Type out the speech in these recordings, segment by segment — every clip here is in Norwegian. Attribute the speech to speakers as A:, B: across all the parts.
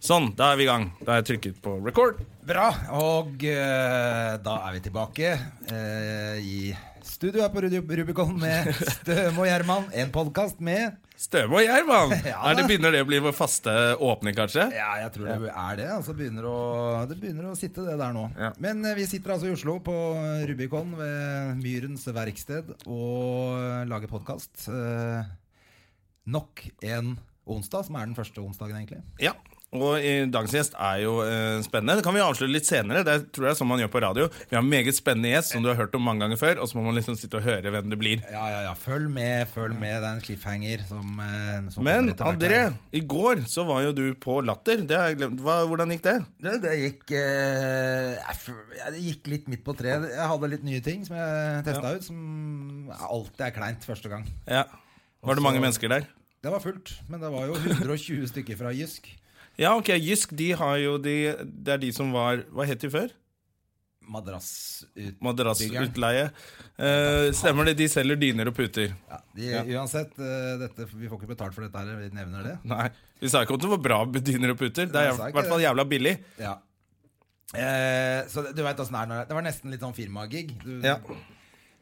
A: Sånn, da er vi i gang. Da har jeg trykket på record.
B: Bra. Og eh, da er vi tilbake eh, i studio her på Rudi- Rubicon med Støme og Gjerman. En podkast med
A: Støve og Gjerman!
B: Ja,
A: Er det
B: da.
A: Begynner det å bli vår faste åpning, kanskje?
B: Ja, jeg tror det er det. Altså begynner å, det begynner å sitte, det der nå.
A: Ja.
B: Men eh, vi sitter altså i Oslo, på eh, Rubicon ved Myrens verksted, og eh, lager podkast. Nok en onsdag, som er den første onsdagen, egentlig.
A: Ja. Og i dagens gjest er jo eh, spennende. Det kan vi avsløre litt senere. Det tror jeg er sånn man gjør på radio. Vi har en meget spennende gjest som du har hørt om mange ganger før, og så må man liksom sitte og høre hvem det blir.
B: Ja, ja, ja. Følg med, følg med. Det er en cliffhanger som, eh, som
A: Men
B: kommer etter hvert
A: André,
B: her.
A: i går så var jo du på Latter. Det har jeg glemt. Hva, hvordan gikk det?
B: Det, det gikk eh, jeg f- ja, Det gikk litt midt på treet. Jeg hadde litt nye ting som jeg testa ut, som alltid er kleint første gang.
A: Ja. Var det mange
B: Også-
A: mennesker der?
B: Det var fullt, men det var jo 120 stykker fra Jysk.
A: Ja, ok, Jysk, de har jo de Det er de som var Hva het de før?
B: Madrassutbyggeren.
A: Madrassutleie. Eh, stemmer det, de selger dyner og puter.
B: Ja, de, Uansett, eh, dette, vi får ikke betalt for dette her, vi nevner det.
A: Nei, vi sa ikke om det var bra med dyner og puter. Det er
B: Nei, sa
A: i
B: ikke
A: hvert fall jævla billig.
B: Ja. Eh, så det- du vet åssen det er når det Det var nesten litt sånn firmagig. Du-
A: Ja.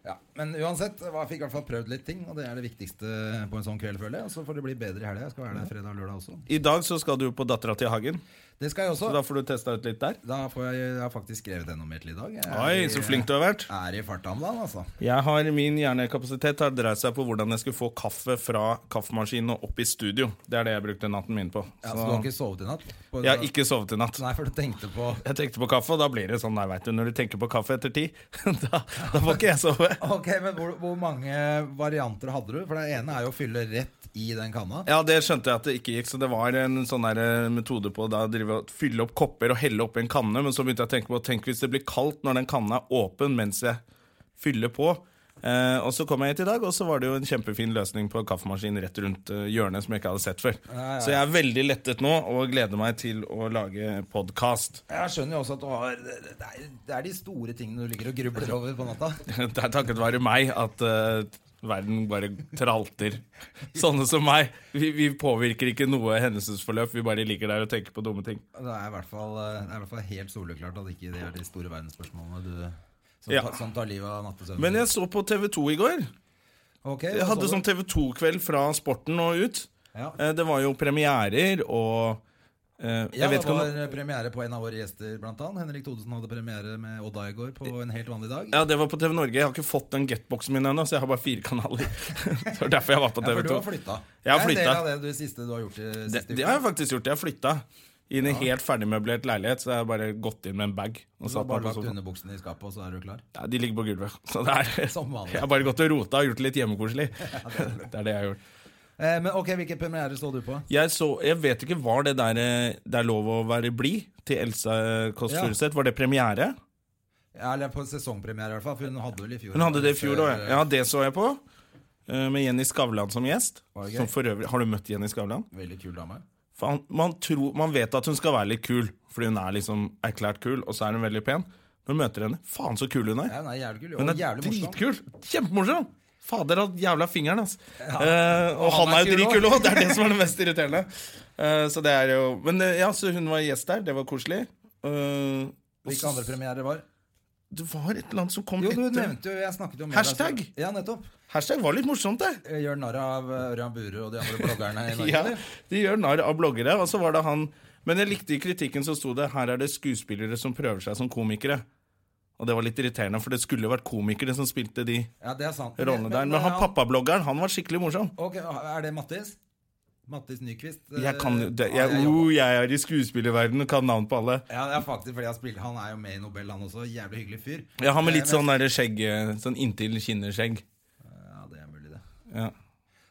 B: Ja, men uansett, jeg var- fikk i hvert fall prøvd litt ting, og det er det viktigste på en sånn kveld, føler jeg. Og så får det bli bedre i helga. Jeg skal være der fredag og lørdag også.
A: I dag så skal du på Dattera til Hagen,
B: Det skal jeg
A: så
B: også.
A: da får du testa ut litt der.
B: Da får jeg, jeg har faktisk skrevet enda mer til i dag. Jeg er
A: Oi,
B: i-
A: så flink du har vært.
B: Er i farta om dagen, altså.
A: Jeg har Min hjernekapasitet har dreid seg på hvordan jeg skulle få kaffe fra kaffemaskinen og opp i studio. Det er det jeg brukte natten min på.
B: Ja, så du har
A: Så
B: ikke sovet i natt? På-
A: jeg har ikke sovet i natt.
B: Nei, for du tenkte på
A: Jeg tenkte på kaffe, og da blir det sånn der, vet du. Når du tenker på kaffe etter ti, da, da får ikke jeg sove.
B: Ok, men hvor, hvor mange varianter hadde du? For det ene er jo å fylle rett i den kanna.
A: Ja, det skjønte jeg at det ikke gikk, så det var en sånn der eh, metode på da å drive og fylle opp kopper og helle oppi en kanne, men så begynte jeg å tenke på tenk hvis det blir kaldt når den kanna er åpen mens jeg fyller på. Eh, og så kom jeg hit i dag, og så var det jo en kjempefin løsning på kaffemaskinen rett rundt eh, hjørnet som jeg ikke hadde sett før. Så jeg er veldig lettet nå og gleder meg til å lage podkast.
B: Jeg skjønner jo også at du har det er, det er de store tingene du ligger og grubler over på natta.
A: Det er takket være meg at eh, verden bare tralter. Sånne som meg. Vi, vi påvirker ikke noe hendelsesforløp, vi bare ligger der og tenker på dumme ting.
B: Det er i hvert fall, eh, det er i hvert fall helt soleklart at ikke det er de store verdensspørsmålene du som,
A: Ja.
B: tar- som tar livet av nattesøvnen.
A: Men jeg så på TV2 i går.
B: Ok,
A: Jeg
B: hva
A: hadde
B: så
A: sånn
B: du?
A: TV2-kveld fra sporten og ut.
B: Ja.
A: Eh, Det var jo premierer og eh, Jeg
B: Ja, det
A: vet ikke om
B: var premiere på en av våre gjester, blant annet. Henrik Thodesen hadde premiere med Odd Aigård på en helt vanlig dag.
A: ja, det var på TV Norge. Jeg har ikke fått den getboxen min ennå, så jeg har bare fire kanaler. det var derfor jeg var på
B: Ja,
A: TV2.
B: for du har flytta.
A: Jeg
B: Det
A: har
B: er en del
A: flytta.
B: av det du, siste du har gjort i
A: Det,
B: siste
A: det har jeg faktisk gjort. Jeg har flytta inn i helt ferdigmøblert leilighet, så jeg har bare gått inn med en bag.
B: Du
A: Og
B: har
A: satt
B: bare
A: meg på sånn.
B: lagt
A: sofaen.
B: underbuksene i skapet, og så er du klar.
A: Ja, de ligger på gulvet. Så det er,
B: Som vanlig.
A: jeg har bare gått og rota og gjort det litt hjemmekoselig. det er det jeg har gjort.
B: Eh, men ok, hvilke premierer så du på?
A: Jeg, så, jeg vet ikke, var det der eh, Det er lov å være blid til Elsa eh, Kåss
B: Ja.
A: Furuseth? Var det premiere?
B: Ja, Eller på sesongpremiere, i hvert fall. For hun hadde vel i fjor.
A: Hun hadde det i fjor òg,
B: Før,
A: ja. ja. Det så jeg på. eh, Med Jenny Skavlan som gjest.
B: Var det gøy?
A: Som for øvrig, har du møtt Jenny Skavlan?
B: Veldig kul dame.
A: Faen, man, tror, man vet at hun skal være litt kul, fordi hun er liksom erklært kul, og så er hun veldig pen. Når du møter henne, faen så kul hun er!
B: Ja, hun er jævlig kul. og
A: Hun er
B: jævlig morsom.
A: dritkul! Kjempemorsom! Fader av jævla fingeren, ass. Eh, og han er jo
B: kul
A: dritkul òg! Det er det som er det mest irriterende. Eh, så det er jo Men eh, ja, så hun var gjest der. Det var koselig. Eh, og
B: Hvilke andre premierer var?
A: det var et eller annet som kom
B: Jo, du
A: etter.
B: nevnte jo jeg snakket jo med
A: Hashtag?
B: deg- Ja, nettopp.
A: Hashtag var litt morsomt, det.
B: Jeg Gjør narr av eh, Ørjan Burøe og de andre bloggerne i Norge.
A: Ja,
B: eller?
A: de gjør narr av bloggere, og så var det han Men jeg likte i kritikken så sto det her er det skuespillere som prøver seg som komikere. Og det var litt irriterende, for det skulle jo vært komikere som spilte de
B: ja, det er sant.
A: rollene der. Men han
B: eh,
A: pappabloggeren, han var skikkelig morsom.
B: Ok, Er det Mattis? Mattis Nyquist? eh,
A: Jeg kan jo det,
B: ja,
A: jeg,
B: jeg-
A: oh, jeg er i skuespillerverdenen og kan navn på alle.
B: ja, det er faktisk fordi jeg har spilt, Han er jo med i Nobel, han også. Jævlig hyggelig fyr.
A: Ja, han med litt
B: Eh, men-
A: sånn der skjegg eh, Sånn inntil kinner-skjegg.
B: Ja, det er mulig, det.
A: Ja.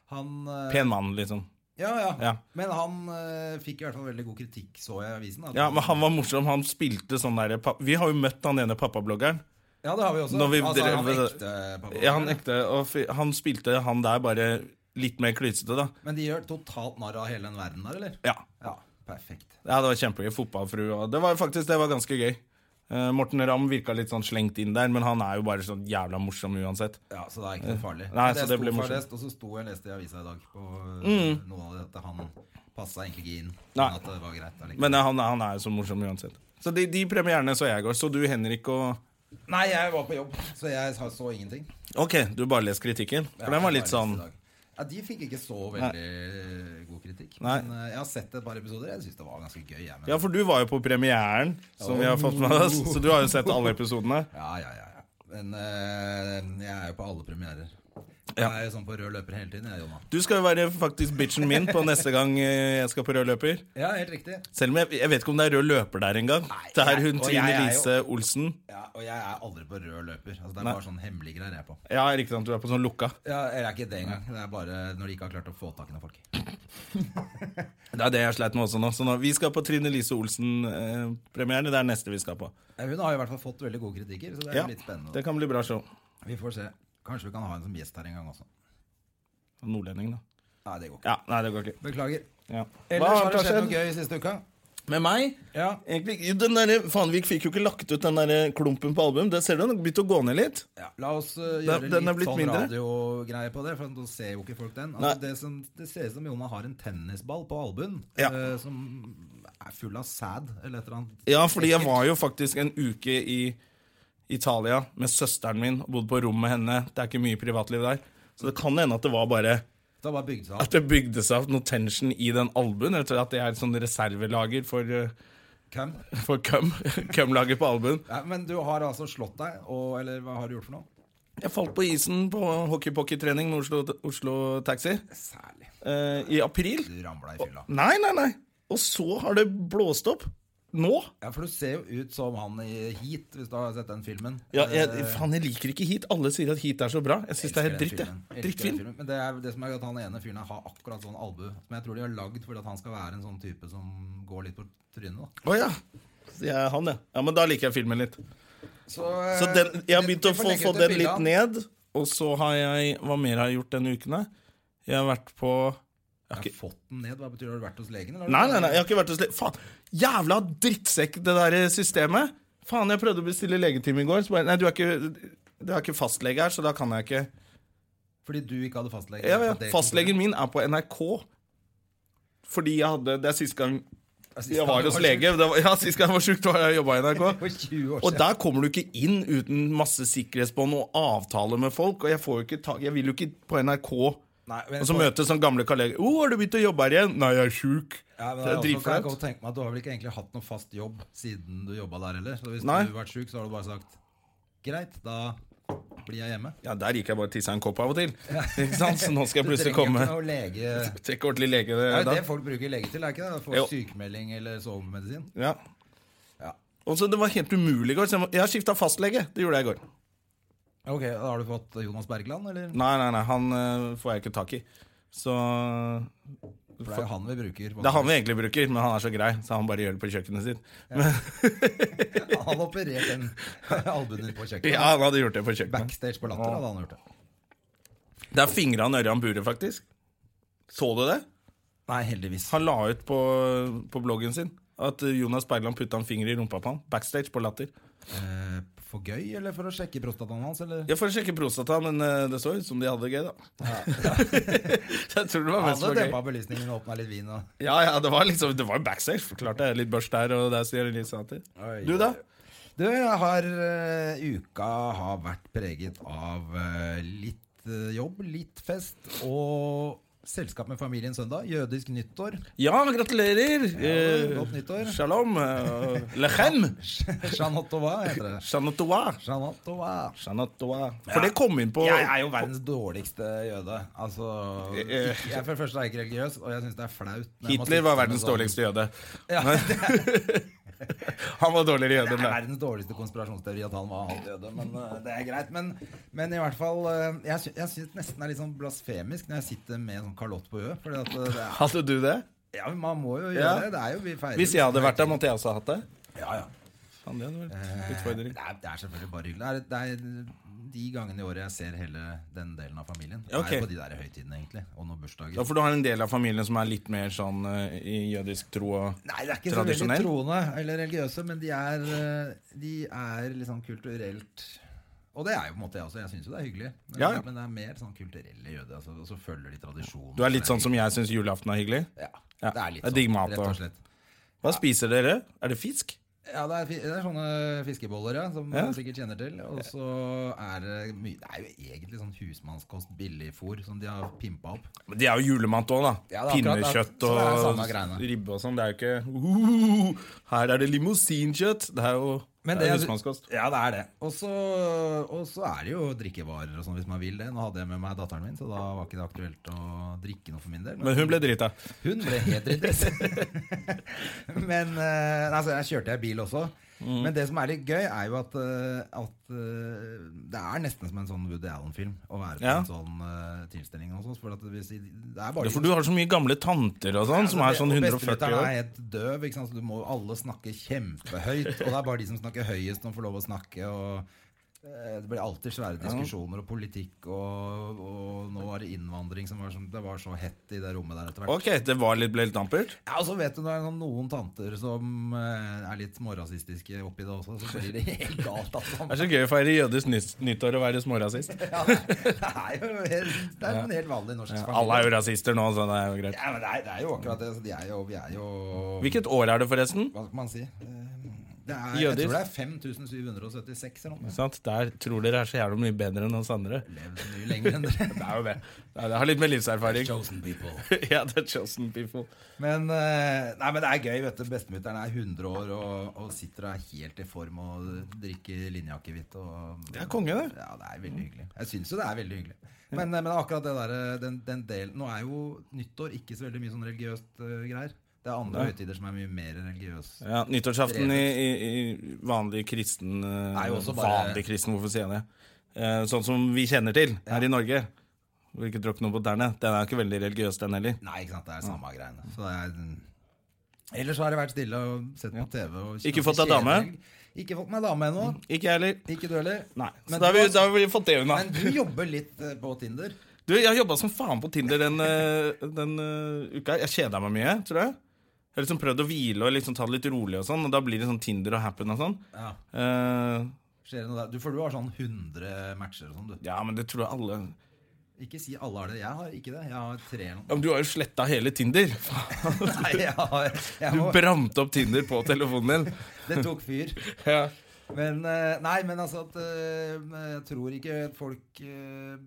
B: Han eh,
A: Pen mann, liksom.
B: Ja, ja.
A: Ja.
B: Men han eh, fikk i hvert fall veldig god kritikk, så jeg i avisen. at-
A: Ja, men Han var morsom. Han spilte sånn der pa- Vi har jo møtt han ene pappabloggeren.
B: Ja, det har vi også.
A: Når vi
B: altså, han
A: drev-
B: ekte pappa.
A: Ja, han ekte, og fi- han spilte han der bare litt mer klysete, da.
B: Men de gjør totalt narr av hele den verden der, eller?
A: Ja,
B: Ja, perfekt.
A: ja det var kjempegøy. Fotballfrue. og Det var faktisk det var ganske gøy. Eh, Morten Ramm virka litt sånn slengt inn der, men han er jo bare sånn jævla morsom uansett.
B: Ja, Så det er ikke noe farlig.
A: Nei, så det
B: sto
A: blir morsomt. Mm.
B: farlest, Og så sto jeg og leste i avisa i dag på eh, noe av dette. Han passa egentlig ikke inn.
A: Nei.
B: Men at det var greit allikevel.
A: Men eh, han, han er jo så morsom uansett. Så de, de premierene så jeg i går. Så du, Henrik, og
B: Nei, jeg var på jobb, så jeg så, så ingenting.
A: Ok, du bare les kritikken. For den var litt sånn
B: Ja, De fikk ikke så veldig eh, god kritikk.
A: Nei.
B: Men eh, jeg har sett et par episoder. Jeg syns det var ganske gøy. Jeg, men...
A: Ja, for du var jo på premieren, som vi har fått med oss. Så du har jo sett alle episodene.
B: ja, ja, ja, ja. Men eh, jeg er jo på alle premierer.
A: Ja.
B: Jeg er jo sånn på rød løper hele tiden, jeg, Jonna.
A: Du skal jo være faktisk bitchen min på neste gang eh, jeg skal på rød løper.
B: Ja, helt riktig.
A: Selv om jeg, jeg vet ikke om det er rød løper der engang.
B: Nei,
A: Det er
B: jeg-
A: hun
B: og
A: Trine
B: jeg er jo-
A: Lise Olsen.
B: Ja, og jeg er aldri på rød løper. Altså, det er
A: Nei.
B: bare sånn hemmelige greier jeg er på.
A: Ja, riktig sant, du er på sånn lukka.
B: Ja, Eller ikke det engang. Det er bare når de ikke har klart å få tak i noen folk.
A: Det er det jeg sleit med også nå. Så nå, vi skal på Trine Lise Olsen-premieren. det er neste vi skal på.
B: Ja, Hun har i hvert fall fått veldig gode kritikker, så det er
A: Ja,
B: jo litt spennende.
A: Det kan bli bra show.
B: Vi får se. Kanskje vi kan ha henne som gjest her en gang også.
A: Nordlending, da.
B: Nei, det går ikke.
A: Ja, Nei, det går ikke.
B: Beklager.
A: Ja. Hva
B: Ellers har
A: annet
B: det skjedd noe gøy siste uka.
A: Med meg?
B: Ja.
A: Egentlig, ikke. den der, Fanvik fikk jo ikke lagt ut den der eh, klumpen på album. Det ser du, den har begynt å gå ned litt.
B: Ja, La oss eh, gjøre
A: Den- den er
B: litt
A: blitt
B: sånn
A: mindre.
B: radiogreie på det, for da ser jo ikke folk den. Altså,
A: Nei.
B: det, som, det ser ut som Jonna har en tennisball på albuen
A: Ja.
B: eh, som er full av sæd eller et eller annet.
A: Ja, fordi jeg var jo faktisk en uke i Italia med søsteren min og bodde på rom med henne. Det er ikke mye privatliv der. Så det kan hende at det var bare
B: Det har bare bygd seg
A: At
B: opp.
A: det bygde seg opp noe tension i den albuen. Jeg tror at det er et sånn reservelager for, eh,
B: Hvem?
A: for cum. Cum-lager på albuen.
B: Ja, men du har altså slått deg, og, eller hva har du gjort for noe?
A: Jeg falt på isen på hockeypocky-trening med Oslo, Oslo Taxi
B: Særlig.
A: eh, i april.
B: Du ramla i fylla.
A: Nei, nei, nei. Og så har det blåst opp. Nå?
B: Ja, for du ser jo ut som han i Heat, hvis du har sett den filmen.
A: Ja, jeg,
B: Eh,
A: faen, jeg liker ikke heat. Alle sier at heat er så bra. Jeg syns det er helt
B: elsker
A: dritt.
B: den
A: jeg.
B: filmen. Elsker den
A: Drittfilm.
B: filmen. Men det, er, det som er at han ene fyren her har akkurat sånn albue, som jeg tror de har lagd fordi at han skal være en sånn type som går litt på trynet. da.
A: Å ja. Det er han, ja. ja. Men da liker jeg filmen litt.
B: Så, eh,
A: Så den, jeg har begynt å få, få den litt
B: ned.
A: ned. Og så har jeg Hva mer har jeg gjort denne uken? da? Jeg har vært på
B: Jeg har fått den ned, Hva betyr det? Har du vært hos legen? Eller?
A: Nei, nei, nei, jeg har ikke vært hos legen. Faen! Jævla drittsekk, det der systemet! Faen, jeg prøvde å bestille legetime i går. Så bare, nei, du er ikke, du er ikke fastlege her, så da kan jeg ikke
B: Fordi du ikke hadde fastlege?
A: ja, ja.
B: På det
A: Fastlegen min er på NRK. Fordi jeg hadde Det er siste gang
B: kontoret.
A: jeg var hos lege. Det var, ja, Sist gang jeg var sjuk, var jeg jobba i NRK.
B: For 20 år
A: Og
B: siden.
A: der kommer du ikke inn uten masse sikkerhetsbånd og avtaler med folk. Og jeg, får jo ikke ta, jeg vil jo ikke på NRK
B: Nei, men-
A: og så møte sånne gamle kolleger. 'Å, har du begynt å jobbe her igjen?' 'Nei, jeg er sjuk'.
B: Ja, men
A: det er
B: også kan jeg
A: dritflaut.
B: godt tenke meg at Du har vel ikke egentlig hatt noe fast jobb siden du jobba der heller? Så hvis
A: Nei.
B: du har vært sjuk, så har du bare sagt greit, da blir jeg hjemme.
A: Ja, der gikk jeg bare og tissa en kopp av og til. Ikke sant? Så nå skal jeg
B: Du trenger
A: plutselig
B: jo
A: komme.
B: ikke noe lege Det
A: Trekk ordentlig lege. Det,
B: er jo
A: da.
B: det folk bruker lege til, er ikke det? For
A: Jo.
B: sykemelding eller sovemedisin.
A: Ja.
B: Ja.
A: Og så Det var helt umulig i går. Så jeg må- jeg har skifta fastlege. Det gjorde jeg i går.
B: Ok, da Har du fått Jonas Bergland, eller?
A: Nei, nei, nei, han øh, får jeg ikke tak i. Så
B: For det er jo han vi bruker.
A: Det er han vi egentlig bruker, men han er så grei, så han bare gjør det på kjøkkenet sitt.
B: Han hadde operert den albuen din på kjøkkenet.
A: Ja, han hadde gjort det på kjøkkenet.
B: Backstage på Latter hadde han gjort det.
A: Det er fingra av Ørjan Bure, faktisk. Så du det?
B: Nei, heldigvis.
A: Han la ut på, på bloggen sin at Jonas Bergland putta en finger i rumpa på han. Backstage på Latter.
B: Eh, for gøy, eller for å sjekke prostataen hans, eller?
A: Jeg får sjekke prostata, men eh, det så ut som de hadde det gøy, da. Så jeg tror det var
B: Han
A: mest
B: hadde
A: for gøy.
B: dempa belysningen og åpna litt vin og
A: Ja, ja, det var liksom Det var backstage. Klart det er litt børst der og der. sier det litt sånn til.
B: Oi,
A: Du, da?
B: oi, Du, jeg har eh, Uka har vært preget av eh, litt eh, jobb, litt fest og selskap med familien søndag. Jødisk nyttår.
A: Ja, gratulerer! Eh,
B: godt nyttår.
A: Shalom. eh, Lechem.
B: Chanotova heter det.
A: Shanatoa.
B: Chanotova.
A: Shanatoa. For det kom inn på
B: Jeg er jo verdens dårligste jøde. Altså,
A: Eh, eh.
B: jeg for det første er jeg ikke religiøs, og jeg syns det er flaut. når jeg må
A: Hitler var
B: sitte med
A: verdens
B: sånn-
A: dårligste jøde.
B: Ja, det er-
A: Han var dårligere jøde
B: Det
A: enn
B: er
A: deg.
B: verdens dårligste konspirasjonsteori at han var halvt jøde, men eh, det er greit. Men, men i hvert fall eh, Jeg, sy jeg syns nesten det er litt sånn blasfemisk når jeg sitter med en sånn kalott på huet. Fordi at eh, det er,
A: Hadde du det?
B: ja, man må jo gjøre
A: Ja.
B: det. det er jo, vi feirer
A: Hvis jeg hadde vært der, måtte jeg også ha hatt det?
B: ja, ja.
A: Faen, det hadde vært
B: Det
A: utfordring.
B: er, det er selvfølgelig bare hyggelig. Det er, det er de gangene i året jeg ser hele den delen av familien.
A: Ja, ok.
B: Det er på de der høytidene, egentlig. Og noen bursdager.
A: Ja, for du har en del av familien som er litt mer sånn eh, i jødisk tro og
B: Nei, det er ikke så veldig
A: tradisjonell?
B: troende eller religiøse, men de er, eh, de er liksom kulturelt Og det er jo på en måte jeg også. Jeg syns jo det er hyggelig. Men,
A: Ja, ja.
B: men det er mer sånn kulturelle jøder. Altså, og så følger de tradisjonen.
A: Du er litt sånn som jeg syns julaften er hyggelig?
B: Ja.
A: Ja,
B: Det er litt
A: det er digg
B: sånn,
A: mat
B: rett
A: og-
B: og slett.
A: Hva spiser dere? Er det fisk?
B: Ja, det er, fi- det er sånne fiskeboller, ja, som
A: Ja.
B: du sikkert kjenner til. Og så er det mye Det er jo egentlig sånn husmannskost, billigfôr, som de har pimpa opp.
A: Men Det er jo julemat òg, da.
B: Ja, det er akkurat det.
A: Pinnekjøtt
B: Så det er
A: og
B: samme greiene.
A: ribbe og sånn. Det er jo ikke uh, Her er det limousinkjøtt! Det er jo
B: Men
A: det er
B: det-
A: husmannskost.
B: Ja, det er det. Og så, og så er det jo drikkevarer og sånn hvis man vil det. Nå hadde jeg med meg datteren min, så da var ikke det aktuelt å drikke noe for min del.
A: Men hun ble drita.
B: Hun ble helt ryddet. Men eh, altså, jeg kjørte jeg bil også.
A: Mm.
B: Men det som er litt gøy, er jo at, eh, at eh, det er nesten som en sånn Woody Allen-film å være på
A: Ja.
B: en sånn eh, tilstelning hos oss. For at hvis, i- det er bare
A: Ja, for du har så mye gamle tanter og sånn, som er sånn
B: og
A: 140
B: bestemutteren
A: år.
B: er helt døv, ikke sant? så du må alle snakke kjempehøyt. Og det er bare de som snakker høyest, som får lov å snakke. Og eh, det blir alltid svære diskusjoner og politikk, og, og nå var det innvandring som var sånn Det var så hett i det rommet der etter hvert.
A: Ok, det var litt, ble litt dampert.
B: Ja, og så vet du, det er sånn noen tanter som eh, er litt smårasistiske oppi det også, så blir det helt galt,
A: Det
B: altså.
A: er så gøy å feire jødisk nytt- nyttår og være smårasist.
B: Ja, det er jo helt, det er en helt vanlig norsk
A: Ja,
B: familie.
A: alle er jo rasister nå, så det er jo greit.
B: Ja, men det er, det er jo akkurat det. Så de er jo, vi er jo
A: Hvilket år er det, forresten?
B: Hva skal man si? Eh, Det er, jeg
A: Jødisk.
B: tror det er 5776 eller noe.
A: Ikke sant? Der tror dere er så jævlig mye bedre enn oss andre.
B: Levd så mye lenger enn dere.
A: Det er jo det. Det er- det har litt med livserfaring.
B: Chosen people.
A: ja, the chosen people.
B: Men, eh, nei, men det er gøy, vet du. Bestemutteren er 100 år og, og sitter der helt i form og drikker linjeakevitt. og-
A: Det er konge, det.
B: Ja, det er veldig hyggelig. Jeg syns jo det er veldig hyggelig. Men, eh, men akkurat det der, den, den delen Nå er jo nyttår ikke så veldig mye sånn religiøst eh, greier. Det er andre høytider som er mye mer religiøse.
A: Ja, Nyttårsaften i, i, i vanlig kristen eh,
B: Nei, også bare-
A: Vanlig kristen, hvorfor sier jeg det? Eh, Sånn som vi kjenner til her i Norge. Hvilket tråkk noe på tærne. Den er jo ikke veldig religiøs, den heller.
B: Nei, ikke sant. Det er samme greiene. Så det er Ellers så har jeg vært stille og sett på TV. Og
A: Ikke fått deg dame?
B: Ikke fått meg dame ennå.
A: Ikke jeg heller.
B: Ikke du heller?
A: Nei. Så
B: Men
A: da har,
B: du
A: vi,
B: har-
A: da har vi fått det unna.
B: Men du jobber litt eh, på Tinder.
A: Du, jeg har jobba som faen på Tinder den, eh, den eh, uka. her. Jeg kjeda meg mye, tror jeg. Jeg har liksom prøvd å hvile og liksom ta det litt rolig, og sånn Og da blir det sånn Tinder og happen og sånn.
B: Ja.
A: Eh,
B: Skjer det noe der? Du, for du har sånn 100 matcher og sånn, du.
A: ja, men det tror jeg alle ja,
B: Ikke si alle har det. Jeg har ikke det. Jeg har tre eller noe.
A: men Du har jo sletta hele Tinder! Faen.
B: Nei, jeg har, jeg
A: Du
B: må,
A: bramte opp Tinder på telefonen din.
B: det tok fyr.
A: Ja.
B: Men eh, nei, men altså at eh, Jeg tror ikke folk eh,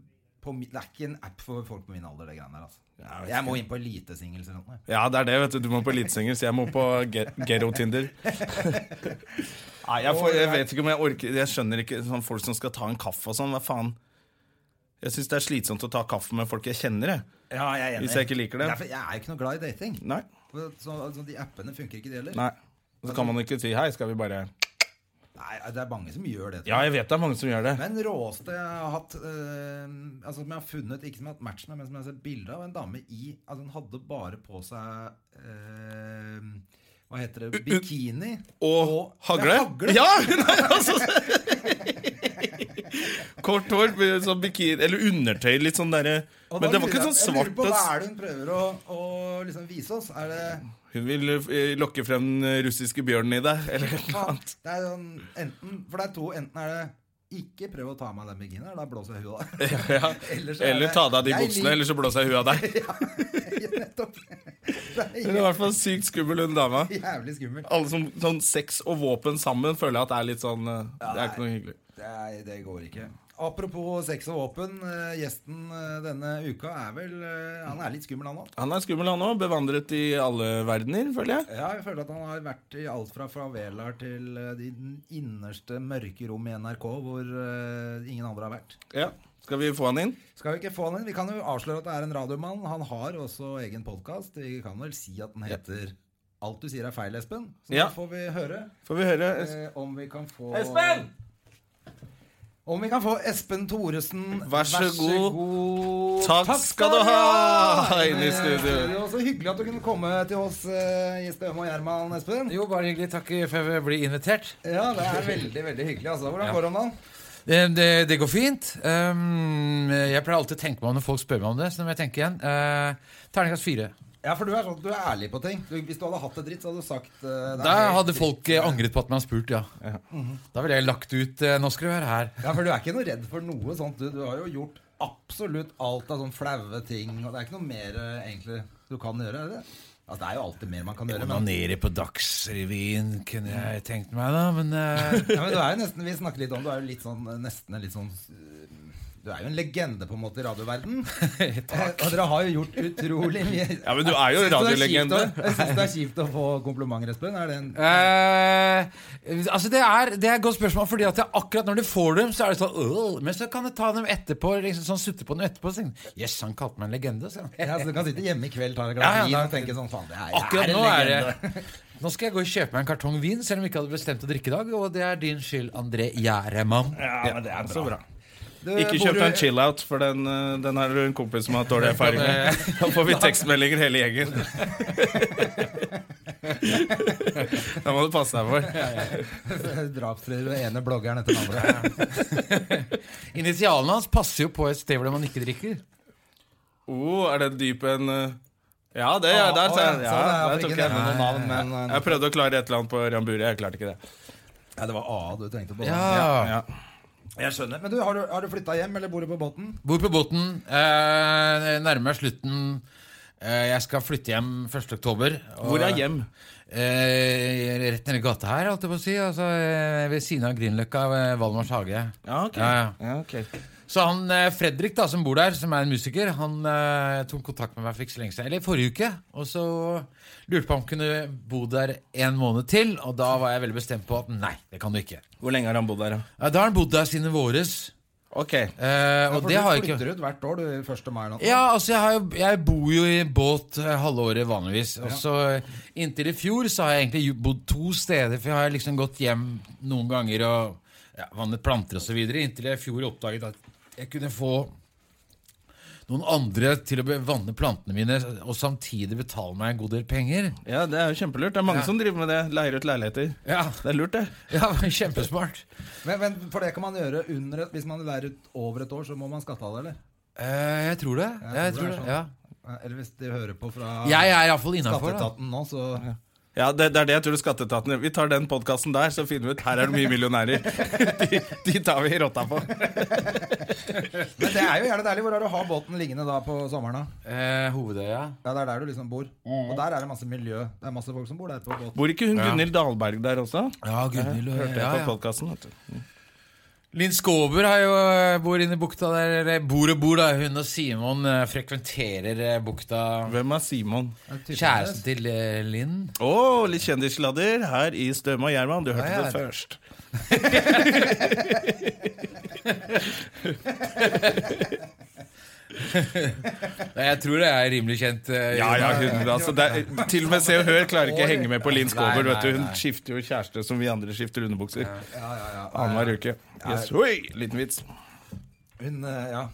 B: på mi, Det er ikke en app for folk på min alder, det greiene der. altså Jeg må inn på elitesingels eller noe.
A: ja, det er det. vet Du Du må på elitesenger, så jeg må på ge- ghetto-Tinder. Nei, jeg, får, jeg vet ikke om jeg orker Jeg skjønner ikke sånn folk som skal ta en kaffe og sånn. Hva faen? Jeg syns det er slitsomt å ta kaffe med folk jeg kjenner. Jeg.
B: Ja, jeg er
A: Hvis jeg ikke liker det.
B: Derfor, jeg er jo ikke noe glad i dating.
A: Nei.
B: For Så, altså, de appene funker ikke, de heller.
A: Nei. Så kan man ikke si hei, skal vi bare
B: Nei, det er mange som gjør det. tror jeg.
A: Ja, jeg vet det er mange som gjør det.
B: Men råeste jeg har hatt eh, Altså som jeg har funnet, ikke som jeg har hatt match med, men som jeg har sett bilde av, en dame i Altså hun hadde bare på seg eh, Hva heter det? Bikini.
A: Og hagle?
B: Ja, hagle.
A: Ja! Nei, altså. Kort hår, med sånn bikini Eller undertøy, litt sånn derre
B: Og da
A: Men det var
B: lurer
A: ikke
B: jeg-
A: sånn
B: Jeg lurer
A: svart
B: på
A: og
B: hva er det hun prøver å, å liksom vise oss? Er det
A: Hun vil eh, lokke frem den russiske bjørnen i deg, eller noe
B: faen,
A: annet.
B: Det er sånn enten For det er to. Enten er det ikke prøv å ta av meg den bikinien, da blåser jeg huet av.
A: Ja.
B: Eller så er
A: Eller
B: det-
A: ta deg av de
B: jeg
A: buksene,
B: liker-
A: eller så blåser jeg huet av deg.
B: Nettopp. Det
A: Hun
B: er
A: er i hvert fall sykt skummel, hun dama.
B: jævlig skummelt.
A: Alle som sånn sex og våpen sammen føler jeg at det er litt sånn eh, Det er ikke noe hyggelig.
B: Nei, det går ikke. Apropos sex og våpen. eh, Gjesten eh, denne uka er vel eh, Han er litt skummel, han òg.
A: Han er skummel, han òg. Bevandret i alle verdener, føler jeg.
B: Ja, jeg føler at han har vært i alt fra favelaer til eh, de innerste mørke rom i NRK hvor eh, ingen andre har vært.
A: Ja. Skal vi få han inn?
B: Skal Vi ikke få han inn? Vi kan jo avsløre at det er en radiomann. Han har også egen podkast. Vi kan vel si at den heter Alt du sier er feil, Espen. Så
A: Ja.
B: da får vi høre
A: Får vi høre?
B: eh, om vi kan få
A: Espen!
B: Om vi kan få Espen Thoresen
A: Vær så god.
B: god. Eh,
A: Takk skal du ha, inne i studio.
B: Så hyggelig at du kunne komme til oss eh, i Støme og Gjerman, Espen.
C: Jo, bare hyggelig. Takk for jeg ble invitert.
B: Ja, det er veldig, veldig hyggelig. Altså. Hvordan går det om dagen?
C: Det, det, det går fint. Ehm, jeg pleier alltid å tenke meg om når folk spør meg om det. Så nå må jeg tenke igjen. Eh, terningkast fire.
B: Ja, for du er sånn at du er ærlig på ting. Du, hvis du hadde hatt det dritt, så hadde du sagt eh, det er
C: Da
B: helt
C: hadde
B: dritt.
C: folk eh, angret på at man har spurt, ja. Da ville jeg lagt ut eh, Nå skal du være her.
B: Ja, for du er ikke noe redd for noe sånt. Du, du har jo gjort absolutt alt av sånne flaue ting. Og det er ikke noe mer eh, egentlig du kan gjøre, er det? Altså, det er jo alltid mer man kan gjøre. Men, Mm.
C: Onanere på Dagsrevyen kunne jeg tenkt meg, da, men eh,
B: ja, men du er jo nesten, vi snakker litt om, du er jo litt sånn, eh, nesten en litt sånn eh, Du er jo en legende på en måte i radioverden. Takk. Og dere har jo gjort utrolig mye.
A: Ja, men du er jo
B: Jeg synes det kjipt
A: radiolegende.
B: å- Jeg syns det er kjipt å få komplimenter, Espen. Er det en
C: Eh, altså det er, det er et godt spørsmål, Fordi at jeg, akkurat når du får dem, så er det sånn «Åh», Men så kan du ta dem etterpå. Liksom sånn Sutte på dem etterpå. Så tenker du, Yes, han kalte meg en legende. Så.
B: ja, så Du kan sitte hjemme i kveld, ta deg et
C: Ja,
B: glass
C: ja,
B: vin
C: da-
B: og tenke sånn Faen, det er, jeg
C: Akkurat
B: er en
C: nå er
B: legende.
C: det Nå skal jeg gå og kjøpe meg en kartong vin, selv om jeg ikke hadde bestemt å drikke i dag. Og det er din skyld, André Gjermann.
A: Ja, men det er
B: Så bra. Du,
A: Ikke
B: bor
A: kjøp
B: du-
A: deg en chill-out, for den, eh, den har du en kompis som har hatt dårlig erfaring med. Da får vi tekstmeldinger hele gjengen. Da må du passe deg for.
B: Drapsrører og ene bloggeren etter den andre.
C: Initialene hans passer jo på et sted hvor man ikke drikker.
A: Oh, er det dyp en eh, Ja, det er der,
B: Å,
A: sa
B: ja, så
A: jeg.
B: det
A: Ja,
B: er
A: der tok
B: ikke
A: jeg
B: nevne noen navn,
A: den.
B: men
A: Jeg prøvde å klare et eller annet på Ramburi, jeg klarte ikke det.
B: ja, Det var A du tenkte på. da.
C: Ja.
A: Ja.
B: Jeg skjønner. Men du, har du, har du flytta hjem, eller bor du på båten?
C: Bor på båten. Eh, nærmer meg slutten. Eh, jeg skal flytte hjem 1. oktober. og-
A: Hvor er hjem?
C: Eh, rett nedi gata her, holdt jeg på å si. Altså, eh, ved siden av Grünerløkka, ved Valmars hage.
A: Ja, ok.
C: Ja, ja.
A: Ja, ok.
C: Så han eh, Fredrik, da, som bor der, som er en musiker, han eh, tok kontakt med meg for ikke så lenge siden, eller forrige uke. Og så lurte på om han kunne bo der en måned til, og da var jeg veldig bestemt på at nei, det kan du ikke.
A: Hvor lenge har han bodd der, da?
C: Ja, da har han bodd der siden i våres.
A: Ok.
C: Eh, og det har jeg ikke
B: Du flytter ut hvert år, du, 1. mai. nå.
C: Ja, altså jeg, har, jo- jeg bor jo i båt eh, halve året vanligvis. Og så eh, Inntil i fjor så har jeg egentlig jo- bodd to steder, for jeg har liksom gått hjem noen ganger og ja, vannet planter osv. Inntil jeg i fjor oppdaget at jeg kunne få noen andre til å be- vanne plantene mine og samtidig betale meg en god del penger.
A: Ja, det er jo kjempelurt. Det er mange som driver med det. Leier ut leiligheter.
C: Ja,
A: Det er lurt, det.
C: ja Kjempesmart.
B: Men, men for det kan man gjøre under et, Hvis man lærer ut over et år, så må man skatte av det, eller?
C: Eh, jeg tror det. Jeg tror
B: det
C: det,
B: er sånn.
C: ja.
B: Eller hvis de hører på fra
C: Jeg er iallfall innafor.
B: Skatteetaten nå, så
A: Ja, det, det er det jeg tror skatteetaten gjør. Vi tar den podkasten der, så finner vi ut. Her er det mye millionærer. De, de tar vi rotta på.
B: Men det er jo gjerne deilig. Hvor er det å ha båten liggende da på sommeren? da?
C: Eh, Hovedøya.
B: Ja, Det er der du liksom bor. Og der er det masse miljø. Det er masse folk som bor der på båten.
A: Bor ikke hun Gunhild Dahlberg der også?
C: Ja, Gunhild.
A: Hørte jeg
C: ja,
A: på
C: ja.
A: podcasten, vet du.
C: Linn Skåber har jo, eh, bor inne i bukta der, eller bor og bor, da. Hun og Simon eh, frekventerer eh, bukta.
A: Hvem er Simon?
B: Det er typen
C: Kjæresten
B: deres.
C: til eh, Linn.
A: Å, litt kjendissladder her i Støme og Gjerman. Du hørte
C: Ja, ja.
A: det først.
C: Nei, Jeg tror det er rimelig kjent. eh,
A: Ja, ja, hun, altså, det er, Til og med Se og Hør klarer ikke å henge med på Linn Skåber.
C: Nei,
A: vet du. Hun
C: nei, nei.
A: skifter jo kjæreste som vi andre skifter underbukser.
B: Ja, ja, ja.
A: Annenhver uke. Yes, oi, Liten vits.
B: Hun, eh, ja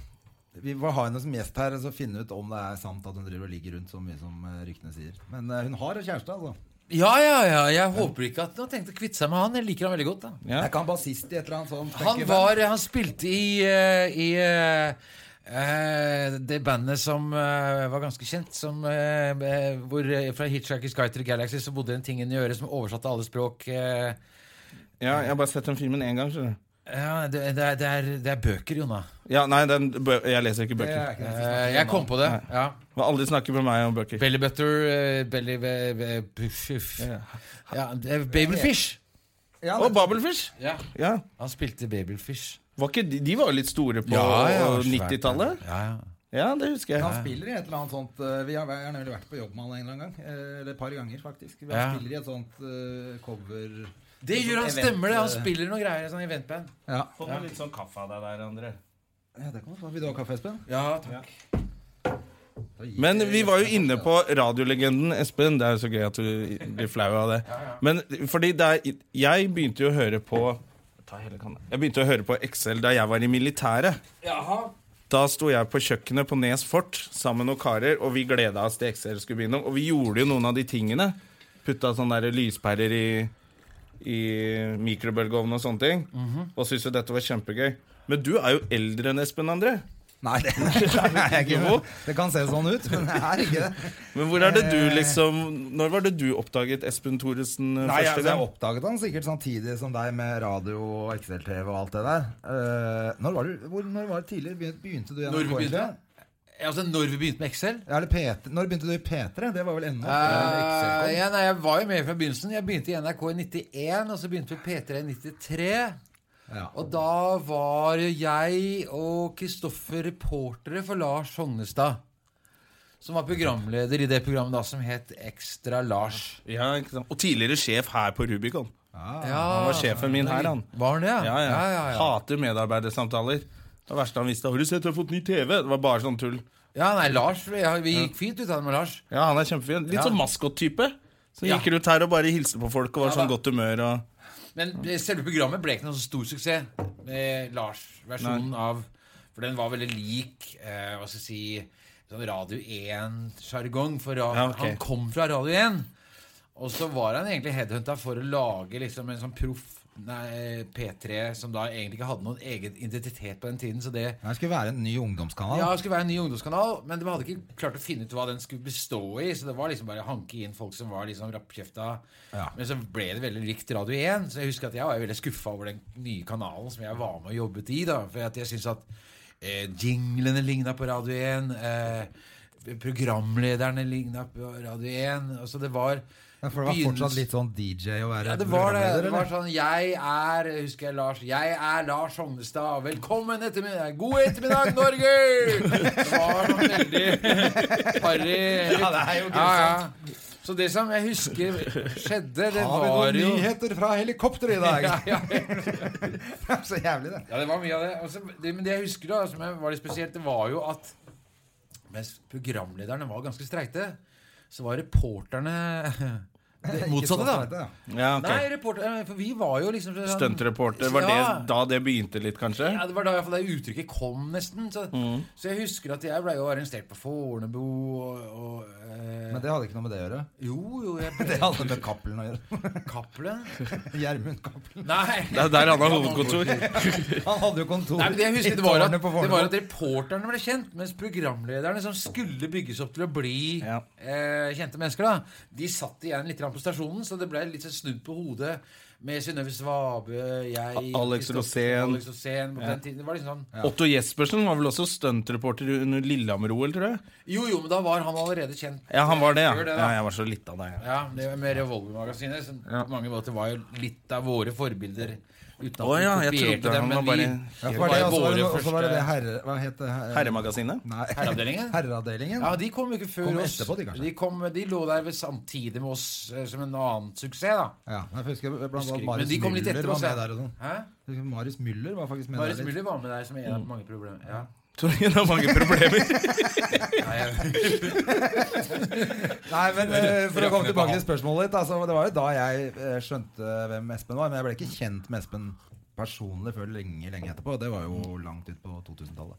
B: Vi må ha henne som gjest her Så finne ut om det er sant at hun driver og ligger rundt så mye som eh, ryktene sier Men eh, hun har en kjæreste altså
C: ja, ja, ja. Jeg håper ikke at hun har tenkt å kvitte seg med han. Jeg liker han veldig godt. da
A: Ja.
B: Jeg kan bassist i et eller annet sånt
C: Han
B: funky band.
C: var, han spilte i, eh, i eh, eh, det bandet som eh, var ganske kjent, som, eh, eh, hvor, eh, fra Hitchhiker's Guide to the Galaxy så bodde det en ting inni øret som oversatte alle språk. eh.
A: Ja, jeg har bare sett den filmen én gang. skjønner du.
C: ja, det, det, er, det, er, det er bøker, Jonna.
A: Ja, nei, den, bø jeg leser ikke
B: Det
A: bøker.
B: er ikke det
C: Eh, jeg kom på det. ja
A: Må aldri snakke med meg om bøker.
C: Belly butter eh, Belly ve- ve- puff, puff. Ja, det er Babelfish!
B: siste- ja,
A: Og Babelfish!
C: Ja.
A: Ja.
C: Han spilte Babelfish.
A: Var ikke de, de var jo litt store på
C: Ja, ja, svært.
A: 90-tallet.
C: Ja, ja.
A: Ja, det husker
B: Han
A: jeg.
B: spiller i et eller annet sånt eh, Vi har gjerne vel vært på jobb med han en eller annen gang eh, Eller et par ganger faktisk Han
C: Ja.
B: spiller i et sånt eh, cover
C: Det gjør han,
B: event,
C: stemmer det! Han
B: eh,
C: spiller noen greier i sånn eventband.
B: ja.
A: Få meg litt sånn kaffe av deg der, André.
B: ja, det kan man få Vil du ha kaffe, Espen?
C: Ja, takk
A: Men vi var jo inne på radiolegenden Espen. Det er jo så gøy at du blir flau av det. Men fordi det er, jeg begynte jo å høre på ta hele kanna. Jeg begynte å høre på XL da jeg var i militæret. Da sto jeg på kjøkkenet på Nes fort sammen med noen karer, og vi gleda oss til XL skulle begynne. Og vi gjorde jo noen av de tingene. Putta sånne der lyspærer i, i mikrobølgeovnen og sånne ting. Og syntes jo dette var kjempegøy. Men du er jo eldre enn Espen André.
B: Nei, det er ikke
A: Jo.
B: Det kan se sånn ut, men det er ikke det.
A: Men hvor er det du liksom Når var det du oppdaget Espen Thoresen eh,
B: Nei,
A: første
B: altså, jeg
A: gang?
B: oppdaget han sikkert samtidig som deg med radio og XL-TV og alt det der. Eh, når, var du, hvor, når var det tidlig? Begynte, begynte du
C: Når vi
B: gjennom
C: begynte?
B: KFD?
C: Altså, når vi begynte med Excel?
B: Ja, eller P3. Når begynte du i P3? Det var vel ennå?
C: Eh, ja, nei, jeg var jo med fra begynnelsen. Jeg begynte i NRK i 91, og så begynte vi i P3 i 93.
B: Ja.
C: Og da var jeg og Kristoffer reportere for Lars Hognestad. Som var programleder i det programmet da som het Ekstra Lars.
A: Ja, ikke sant? Og tidligere sjef her på Rubicon. Han
C: Ja,
A: var sjefen min her, han.
C: var han det?
A: Ja, Ah, ja.
C: ja, ja, ja.
A: Hater medarbeidersamtaler. Det verste han visste. 'Har du sett, jeg har fått ny TV?' Det var bare sånn tull.
C: Ja, nei, Lars, ja, Vi gikk fint ut av det med Lars.
A: Ja, han er kjempefin. Litt
C: Ja.
A: sånn maskottype. Så
C: Ja.
A: gikk rundt her og bare hilste på folk og var
C: Ja,
A: sånn
C: da.
A: godt humør og
C: Men selve programmet ble ikke noen så stor suksess. Med Lars-versjonen av For den var veldig lik eh, hva skal jeg si, sånn Radio 1-sjargong. For ra-
A: Ja, ok.
C: han kom fra Radio 1. Og så var han egentlig headhunta for å lage liksom en sånn proff nei, P3 som da egentlig ikke hadde noen egen identitet på den tiden. Så det
B: Det skulle være en ny ungdomskanal.
C: ja, det skulle være en ny ungdomskanal, men de hadde ikke klart å finne ut hva den skulle bestå i. Så det var liksom bare å hanke inn folk som var liksom rappkjefta.
B: Ja.
C: Men så ble det veldig likt Radio 1. Så jeg husker at jeg var veldig skuffa over den nye kanalen som jeg var med og jobbet i. da For at jeg syntes at eh, jinglene ligna på Radio 1. Eh, programlederne ligna på Radio 1. Altså det var
B: Ja, for det var
C: begynnelsen-
B: fortsatt litt sånn DJ å være
C: ja, det var det.
B: programleder,
C: det var
B: eller?
C: sånn, jeg er husker jeg Lars, jeg er Lars Hognestad. Velkommen ettermiddag. God ettermiddag, Norge! Det var sånn veldig harry. Ja, det er jo ja. Så det som jeg husker skjedde, det
B: Har vi
C: var
B: noen
C: jo
B: nyheter fra helikopteret i dag?
C: ja, ja,
B: Det er så jævlig, det.
C: Ja, det var mye av det. Og så- det men det jeg husker, da, som jeg- var litt spesielt, det var jo at mens programlederne var ganske streite, så var reporterne det motsatte, da.
A: Ja, ok.
C: Nei, reporter, eh, for vi var jo liksom sånn-
A: Stuntreporter. Var
C: Ja.
A: det da det begynte litt, kanskje?
C: Ja, Det var da i hvert fall det uttrykket kom, nesten. Så,
A: Mm.
C: så jeg husker at jeg ble jo arrestert på Fornebu og, og eh,
B: Men det hadde ikke noe med det å gjøre.
C: Jo, jo, jeg ble
B: Det hadde med Cappelen å gjøre.
C: Cappelen.
B: Gjermund Cappelen.
C: Nei.
A: Det er der han har hovedkontor.
B: Han hadde jo kontor
C: Nei, men det jeg
B: i
C: husker det var, at,
B: tårnet på
C: det
B: Fornebu.
C: var at reporterne ble kjent, mens programlederne som skulle bygges opp til å bli
A: Ja.
C: eh, kjente mennesker, da, de satt igjen litt grann på stasjonen, så det ble litt sånn snudd på hodet med Synnøve Svabe, jeg
A: A- Alex
C: Kristoffer-
A: Rosén.
C: Alex Rosén på den tiden. Det var liksom sånn
A: Otto Jespersen var vel også stuntreporter under Lillehammer-OL, tror jeg.
C: Jo, jo, men da var han allerede kjent
A: Ja, han var det, ja.
C: Før det, da.
A: ja jeg var så litt av det. Ja.
C: Ja, det var med Revolver-magasinet som på mange måter var jo litt av våre forbilder. Uten at
A: Å ja,
C: vi
A: jeg
C: kopierte
A: trodde
C: dem,
A: han
C: men
A: var bare-
C: vi
B: Ja,
C: det
B: for det, altså også
C: var jo
B: var
C: våre
B: det, også var det det
C: første
B: herre... Hva het det? Her-
A: Herremagasinet?
B: Nei.
C: Herreavdelingen?
B: Herreavdelingen?
C: Ja, de kom jo ikke før
B: Kom
C: oss.
B: etterpå, de, kanskje?
C: kom, de lå der ved samtidig med oss eh, som en annen suksess, da.
B: Ja, jeg husker blant
C: Husker
B: annet
C: ikke,
B: Marius
C: men de kom litt
B: Müller
C: etter
B: var
C: oss.
B: med
C: ja.
B: der og sånn.
C: Hæ?
B: Jeg husker Marius Müller var faktisk med
C: Marius
B: der litt. Mm.
C: Müller var med der som en av mange problemer. Ja.
A: Tror jeg det er mange problemer.
C: Nei, jeg-
B: Nei, men eh, for å komme tilbake til spørsmålet ditt. Altså, det var jo da jeg eh, skjønte hvem Espen var, men jeg ble ikke kjent med Espen personlig før lenge, lenge etterpå. Det var jo langt ut på 2000-tallet.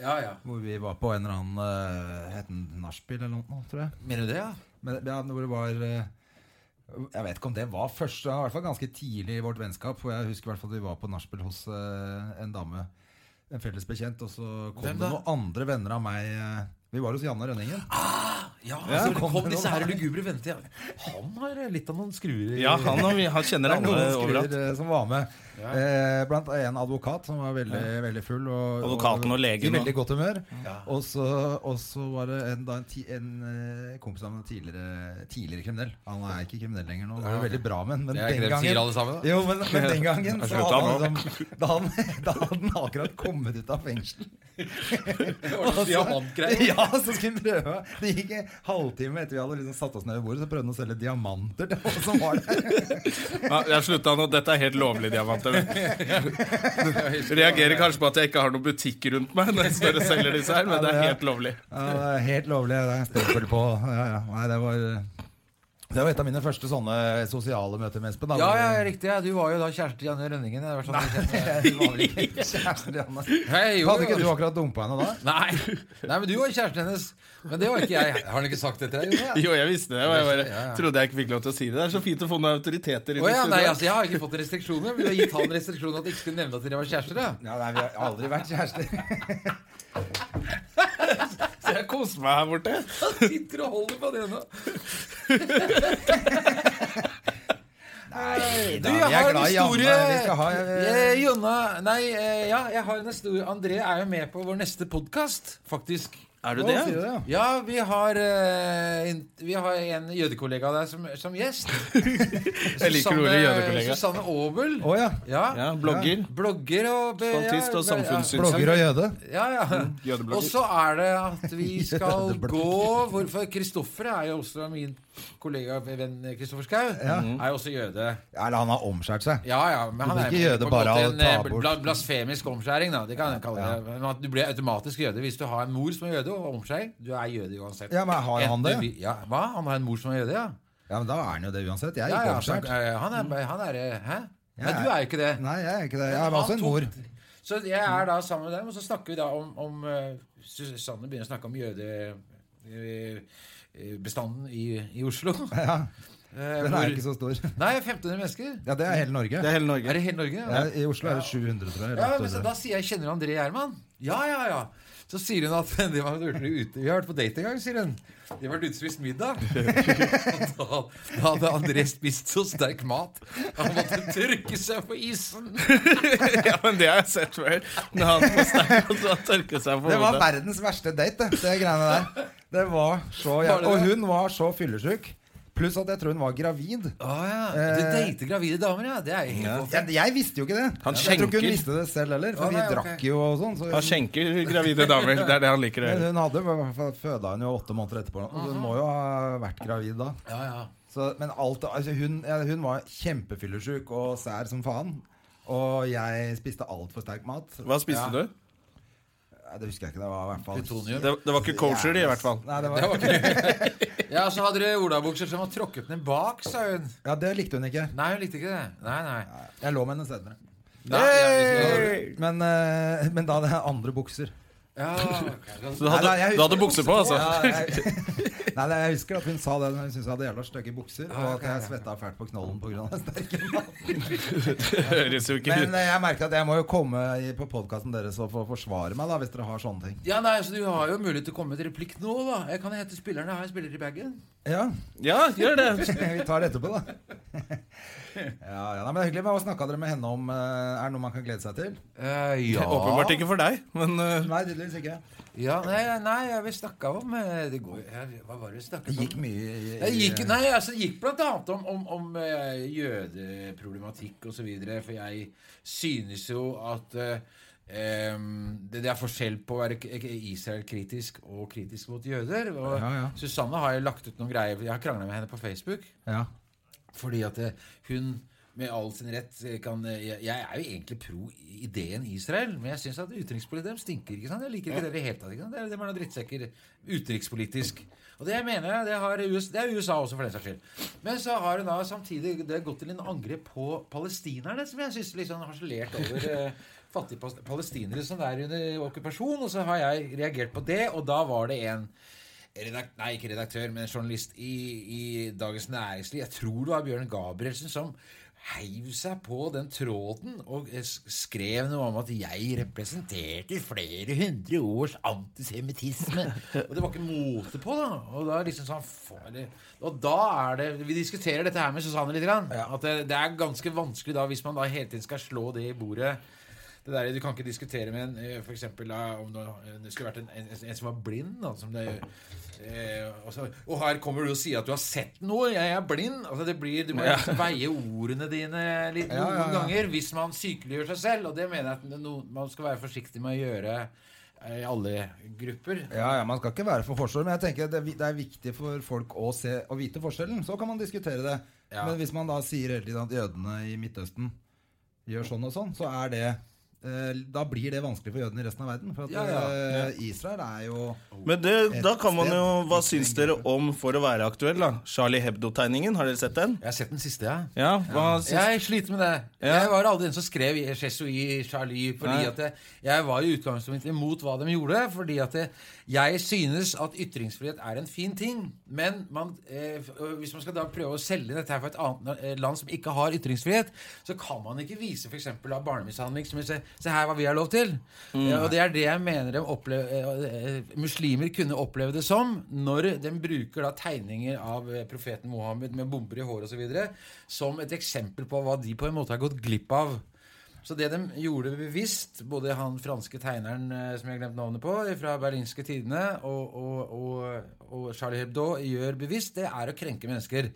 C: ja, ja.
B: Hvor vi var på en eller annen uh, Het den nachspiel eller noe, tror jeg.
C: Mener du det, ja?
B: Men ja, hvor det var eh, Jeg vet ikke om det var først, det var i hvert fall ganske tidlig i vårt vennskap. For jeg husker i hvert fall at vi var på nachspiel hos eh, en dame, en felles bekjent. Og så kom
C: Hvem
B: det
C: da?
B: noen andre venner av meg. eh, vi var hos Janne Rønningen.
C: Ja,
B: Ja,
C: så kom,
B: kom det
C: disse
B: noen
C: her
B: her.
C: lugubre vennene til Han har eh, litt av noen skruer i
A: Ja, han, og vi- han kjenner
B: Det er
A: alle
B: noen
A: overalt.
B: skruer eh, som var med. Eh, blant en advokat som var veldig, veldig full. Og,
A: Advokaten og legen
B: I
A: og-
B: veldig godt humør. Og så og så var det en, da en, ti, en eh, kompis av meg, tidligere, tidligere kriminell. Han er ikke kriminell lenger nå. Han er veldig bra, men, men
C: Det er
B: den
C: ikke det de sier
B: gangen
C: alle sammen, da.
B: Jo, men, men den gangen så
A: Slutt
B: hadde
A: han
B: han, liksom, da, han, da hadde han akkurat kommet ut av fengsel.
C: Det var sånn diamantgreier.
B: Ja, så skulle han prøve. Det gikk, halvtime etter vi hadde liksom satt oss ned ved bordet, så prøvde han å selge diamanter til alle som var der.
A: Ja, jeg slutta nå. Dette er helt lovlig diamanter. Reagerer kanskje på at jeg ikke har noen butikk rundt meg når dere selger disse her, men det er helt lovlig.
B: Ja, det er helt lovlig. Det er stempel på. Ja, ja. Nei, det var Det var et av mine første sånne sosiale møter med Espen. da.
C: Ja, ja, riktig. ja. Du var jo da kjæreste til Janne Rønningen. Jeg var sånn kjent med-
B: Du var vel ikke kjæresten til Anna.
C: Hei, jo,
B: Hadde ikke
C: jo.
B: du akkurat dumpa henne da?
C: Nei. Nei, men du var kjæresten hennes. Men det var ikke jeg. Har han ikke sagt det til deg? Jonas?
A: Jo, jeg visste det, og jeg bare trodde jeg ikke fikk lov til å si det. Det er så fint å få noen autoriteter inn
C: Å
A: i
C: ja, nei, altså,
A: studio.
C: jeg har ikke fått restriksjoner. Vi har gitt han restriksjoner at jeg ikke skulle nevne at dere var kjærester. da.
B: Ja, nei, Vi har aldri vært kjærester.
A: Så jeg koser meg her borte.
C: Han sitter og holder på det nå. Du,
B: da,
C: jeg
B: vi er
C: har en
B: glad i Janne.
C: historie.
B: Vi skal ha, eh,
C: Eh, Jonna Nei, eh, ja, jeg har en historie. André er jo med på vår neste podkast, faktisk.
A: Er du
B: Å,
A: det?
B: sier du det, ja?
C: Ja, vi har, eh, en- vi har en jødekollega av deg som, som gjest.
A: Jeg liker ordet jødekollega.
C: Susanne Aabel.
B: Å ja.
C: Ja.
A: Ja, blogger.
C: Blogger og be-
A: Spaltist og
C: ja, ja,
A: samfunnssyns-
B: Blogger og jøde.
C: Ja, ja.
A: jødeblogger.
C: Og så er det at vi skal
B: Mm, Jødeblogger.
C: gå Hvorfor Kristoffer er jo også min kollega venn Kristoffer Schau. Er jo også jøde.
B: Eller han har omskjært seg.
C: Ja, ja, men han
B: blir
C: er
B: ikke
C: jo
B: jøde
C: på en
B: bare
C: måte
B: av å
C: en
B: ta
C: eh,
B: bort-
C: bla- blasfemisk omskjæring, da. Det kan jeg kalle det. Men at du blir automatisk jøde hvis du har en mor som er jøde, og omskjæring. Du er jøde uansett.
B: Ja, men Har han det?
C: Enten vi- Ja, hva? Han har en mor som er jøde, ja?
B: Ja, men Da er han jo det uansett. Jeg er
C: ja,
B: ikke
C: ja så,
B: omskjært.
C: eh, han er, han er eh, Hæ? Nei,
B: Jeg
C: du er jo ikke det.
B: Nei, jeg er ikke det. Jeg har også en mor.
C: Så jeg er da sammen med dem, og så snakker vi da om, om eh, Susanne begynner å snakke om jødebestanden i, i Oslo.
B: Ja,
C: Eh,
B: Den
C: hvor-
B: er ikke så stor.
C: Nei, 1500 mennesker.
B: Ja, Det er hele Norge.
A: Det er hele Norge.
C: Er det hele Norge?
B: Ja, I Oslo er det 700, tror jeg.
C: Ja,
B: rett over.
C: men så, da sier jeg 'Kjenner du André Gjerman?' Ja, ja, ja. Så sier hun at de var ute. Vi har vært på date en gang, sier hun. De har vært ute og spist middag. Og da, da hadde André spist så sterk mat. Han måtte tørke seg på isen.
A: Ja, men det har jeg sett før. Når han får sterk og så tørker seg på
B: Det var
A: hodet.
B: verdens verste date, det, det greiene der. Det var så
C: Var det
B: jævlig. Og
C: det?
B: hun var så fyllesyk. Pluss at jeg tror hun var gravid.
C: Å ja. Du dater gravide damer, ja. Det er jo helt
B: Jeg, jeg visste jo ikke det.
A: Han
B: jeg tror ikke hun
A: skjenker.
B: visste det selv heller, for
C: Å, nei,
B: vi
C: ok.
B: drakk jo og sånn. Så
A: Han
B: hun,
A: skjenker gravide damer. Det er det han liker å
B: men
A: gjøre.
B: hun hadde i hvert fall føda hun jo åtte måneder etterpå. Så hun må jo ha vært gravid da.
C: Ja, ja.
B: Så, men alt, altså hun, ja, hun var kjempefyllesyk og sær som faen. Og jeg spiste altfor sterk mat.
A: Hva spiste du?
B: Nei, Det husker jeg ikke. Det var i hvert fall
C: Plutonium.
A: Det, det var ikke kosher, i hvert fall.
B: Nei, det
C: Det
B: var,
C: var ikke- Ja, så hadde dere olabukser som var tråkket ned bak, sa hun.
B: ja, det likte hun ikke.
C: Nei, hun likte ikke det. Nei, nei.
B: Jeg lå med henne senere.
C: nei ja, vi skal-
B: Men, eh, men da hadde jeg andre bukser.
C: ja, ok.
A: Så du hadde,
B: Nei, nei, jeg
A: du hadde
B: husker-
A: bukse på, altså?
B: Ja, jeg, nei, nei, jeg husker at hun sa det. Hun syntes jeg hadde jævla stygge bukser, og
A: Ah,
B: at jeg svetta fælt på knollen pga. den sterke maten.
A: Det høres jo ikke
B: Men
A: ut.
B: eh, jeg merket at jeg må jo komme i- på podkasten deres og få forsvare meg, da, hvis dere har sånne ting.
C: Ja, nei, så Du har jo mulighet til å komme med et replikk nå. da Jeg kan hete spillerne her. Spiller i bagen.
B: Ja,
A: Ja, gjør det.
B: vi tar det etterpå, da. Ja, ja, nei, men det er hyggelig. Men Hva snakka dere med henne om? eh, Er det noe man kan glede seg til?
C: Eh, ja.
A: Åpenbart ikke for deg, men eh,
B: Nei, tydeligvis ikke.
C: Ja, nei, nei, ja, vi snakka om eh, det går, ja, Hva var det vi snakka
B: Det
C: om?
B: gikk mye i,
C: Det
B: i,
C: gikk, nei, altså, det gikk blant annet om, om, om eh, jødeproblematikk og så videre, for jeg synes jo at eh, em, det, det er forskjell på å være k- k- Israel-kritisk og kritisk mot jøder. Og
B: Ja, ja.
C: Susanne har jo lagt ut noen greier. Jeg har krangla med henne på Facebook.
B: Ja.
C: Fordi at eh, hun med all sin rett eh, kan eh, Jeg, jeg er jo egentlig pro i- ideen Israel, men jeg syns at utenrikspolitikk dem stinker. ikke sant? Jeg liker ikke det i det hele tatt. ikke sant? Det er, de er noen drittsekker utenrikspolitisk. Og det mener jeg, det, har US, det er USA også, for den saks skyld. Men så har hun da samtidig det gått til en angrep på palestinerne, som jeg syns liksom harselert over eh, fattige pas- palestinere som er under okkupasjon. Og så har jeg reagert på det, og da var det en redakt, nei, ikke redaktør, men journalist i, i Dagens Næringsliv, jeg tror det var Bjørn Gabrielsen, som heiv seg på den tråden og eh, s- skrev noe om at jeg representerte flere hundre års antisemittisme. Og det var ikke måte på, da. Og da er liksom sånn faen, det- Og da er det Vi diskuterer dette her med Susanne litt. Grann, at det, det er ganske vanskelig da, hvis man da hele tiden skal slå det i bordet det der, Du kan ikke diskutere med en eh, for eksempel, da, om det, eh, det skulle vært en, en, en som var blind. Da, som det, eh, og, så, og her kommer du og sier at du har sett noe! Jeg er blind! Altså, det blir, du må liksom veie ordene dine litt noen
B: ja, ja.
C: ganger hvis man sykeliggjør seg selv. Og det mener jeg at no, man skal være forsiktig med å gjøre eh, i alle grupper.
B: Ja, ja, Man skal ikke være for forskjell, men jeg tenker det, er vi- det er viktig for folk å, se, å vite forskjellen. Så kan man diskutere det.
C: Ja.
B: Men hvis man da sier hele tiden at jødene i Midtøsten gjør sånn og sånn, så er det eh, da blir det vanskelig for jødene i resten av verden. For at
C: Ja, ja.
B: eh, Israel er jo
A: Men det, da kan man jo Hva
B: Et sted.
A: syns dere om, for å være aktuell, da? Charlie Hebdo-tegningen, har dere sett den?
C: Jeg har sett den siste, ja.
A: Ja, hva syns
C: Jeg sliter med det.
A: Ja.
C: Jeg var aldri den som skrev Jesui Charlie. Fordi
A: Nei.
C: at jeg, jeg var i utgangspunktet imot hva de gjorde. Fordi at jeg, jeg synes at ytringsfrihet er en fin ting. Men man, eh, og hvis man skal da prøve å selge dette her for et annet na- eh, land som ikke har ytringsfrihet, så kan man ikke vise f.eks. av barnemishandling som se, se her hva vi har lov til. Eh, og det er det jeg mener de opple- eh, eh, muslimer kunne oppleve det som når de bruker da tegninger av eh, profeten Mohammed med bomber i håret osv. som et eksempel på hva de på en måte har gått glipp av. Så det de gjorde bevisst, både han franske tegneren eh, som jeg har glemt navnet på, fra Berlinske Tidene, og, og, og, og Charlie Hebdo gjør bevisst, det er å krenke mennesker.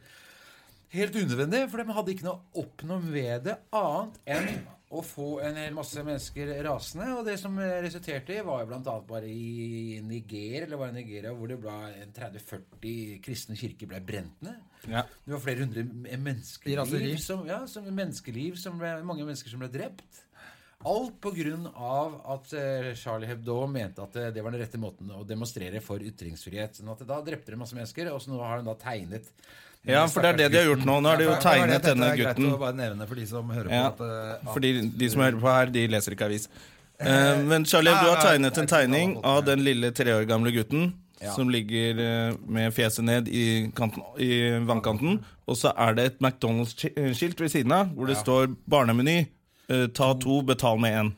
C: Helt unødvendig, for de hadde ikke noe å oppnå ved det annet enn å få en hel masse mennesker rasende. Og det som eh, resulterte i, var jo bl.a. bare i Niger, eller var det Nigeria, hvor det ble en 30-40 kristne kirker ble brent ned.
A: Ja.
C: Det var flere hundre m- eh,
B: I raseri.
C: menneskeliv som, ja, som menneskeliv som ble, mange mennesker som ble drept. Alt på grunn av at eh, Charlie Hebdo mente at eh, det var den rette måten å demonstrere for ytringsfrihet. Sånn at da drepte de masse mennesker, og så nå har de da tegnet
A: Ja, for det er det de har gjort nå. Nå har de jo
B: Ja, for- for det-
A: tegnet
B: dette
A: denne
B: er greit
A: gutten.
B: å bare nevne for de som hører
A: Ja,
B: på. At, eh, at
A: fordi de som hører på her, de leser ikke avis. Eh, men Charlie,
B: Nei,
A: du har
B: nei,
A: tegnet
B: jeg tror
A: en
B: ikke
A: tegning
B: alle har fått det.
A: av den lille tre år gamle gutten som ligger eh, med fjeset ned i, kanten, i vannkanten. Og så er det et McDonald's-skilt ved siden av hvor det står 'barnemeny'. eh, ta to, betal med én.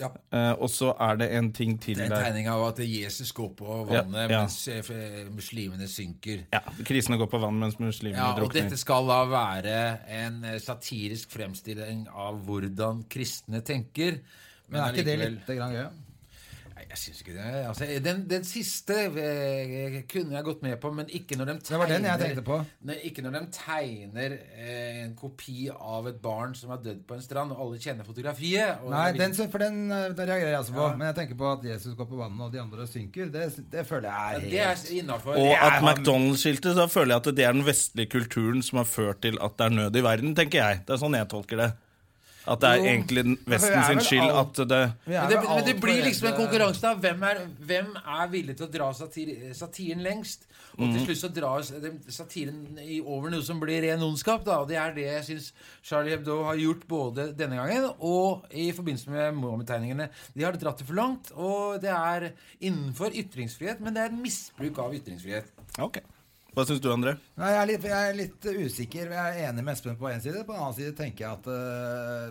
C: Ja.
A: Eh, og så er det en ting til
C: en
A: der.
C: tegning av at Jesus går på
A: Ja,
C: vannet
A: ja.
C: mens eh, f- muslimene synker.
A: Ja, Krisene går på vann mens muslimene
C: Ja, og
A: drukner.
C: dette skal da være en eh, satirisk fremstilling av hvordan kristne tenker.
B: men er ikke det
C: allikevel-
B: litt grann gøy?
C: Nei, jeg syns ikke det. Altså, den, den siste eh, kunne jeg gått med på, men ikke når de tegner
B: Det var den jeg tenkte på.
C: Nei, ikke når de tegner eh, en kopi av et barn som er dødd på en strand, og alle kjenner fotografiet. Og
B: Nei, den, sy- for den, eh, den reagerer jeg også på. Men jeg tenker på at Jesus går på vannet, og de andre synker. Det, det føler jeg er helt
C: Det er innafor.
A: Og at McDonald's-skiltet, så føler jeg at det er den vestlige kulturen som har ført til at det er nød i verden, tenker jeg. Det er sånn jeg tolker det. At det er
C: Jo. Altså,
A: egentlig den-
B: vi
A: Vesten
B: er
A: sin
B: vel
A: skyld
B: alt-
A: at det
B: Vi er
C: Men det,
B: vel
C: men det
B: alt
C: blir
B: for
C: liksom en
B: redde-
C: konkurranse, da. Hvem er, hvem er villig til å dra satir, satiren lengst? Og til slutt så dras den- satiren i- over noe som blir ren ondskap, da. Og det er det jeg syns Charlie Hebdo har gjort både denne gangen og i forbindelse med Mohammed-tegningene. De har dratt det for langt, og det er innenfor ytringsfrihet, men det er en misbruk av ytringsfrihet.
A: Ok. Hva syns du, André?
B: Nei, jeg er litt, jeg er litt eh, usikker. Jeg er enig med Espen på én side. På den annen side tenker jeg at eh,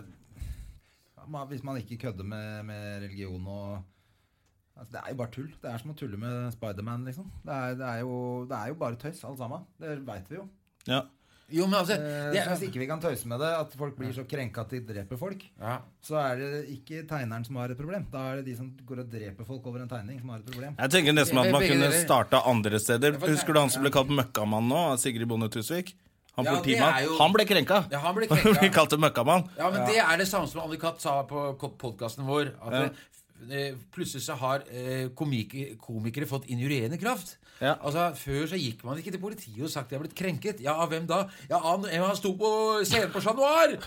B: ja, man- hvis man ikke kødder med, med religion og altså, Det er jo bare tull. Det er som å tulle med Spiderman, liksom. Det er, det, er jo, det er jo bare tøys, alt sammen. Det veit vi jo.
A: Ja.
C: Jo, men altså
B: Eh,
C: det
B: så hvis
C: er,
B: ikke vi kan tøyse med det, at folk blir så krenka at de dreper folk,
C: ja.
B: så er det ikke tegneren som har et problem. Da er det de som går og dreper folk over en tegning, som har et problem.
A: Jeg tenker nesten at man
C: Begge
A: kunne
C: deler.
A: starta andre steder.
C: for-
A: Husker du han som ble kalt Møkkamann nå? av Sigrid Bonde Tusvik? Han
C: Ja, det er
A: politimannen.
C: jo-
A: Han ble krenka!
C: Ja, han ble krenka.
A: Vi kalte Møkkamann.
C: Ja, men det er det samme som Annikat sa på podkasten vår. At eh, f- eh, plutselig så har eh, komik komikere fått injurierende kraft.
A: Ja.
C: Altså, Før så gikk man ikke til politiet og sagt 'jeg er blitt krenket'. Ja, av hvem da? Ja, han, han sto på scenen på Chat Noir!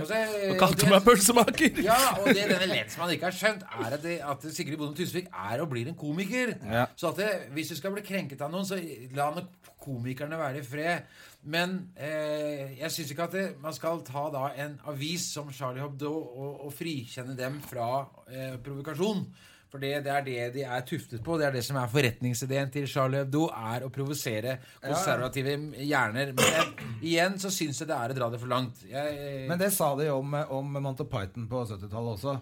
C: altså,
A: Han
C: eh, og
A: kalte
C: det-
A: meg pølsemaker!
C: ja, og det denne lensmannen ikke har skjønt, er at, det, at Sigrid Bonde Tusvik er og blir en komiker.
A: Ja.
C: Så at det, hvis du skal bli krenket av noen, så la nå komikerne være i fred. Men eh, jeg syns ikke at det, man skal ta da en avis som Charlie Hebdo og, og frikjenne dem fra eh, provokasjon. For det, det er det de er tuftet på. Det er det som er forretningsideen til Charlie Hebdo, er å provosere konservative hjerner. Men jeg, igjen så syns jeg det er å dra det for langt. Jeg, eh,
B: Men det sa de om, om Monty Python på 70-tallet også.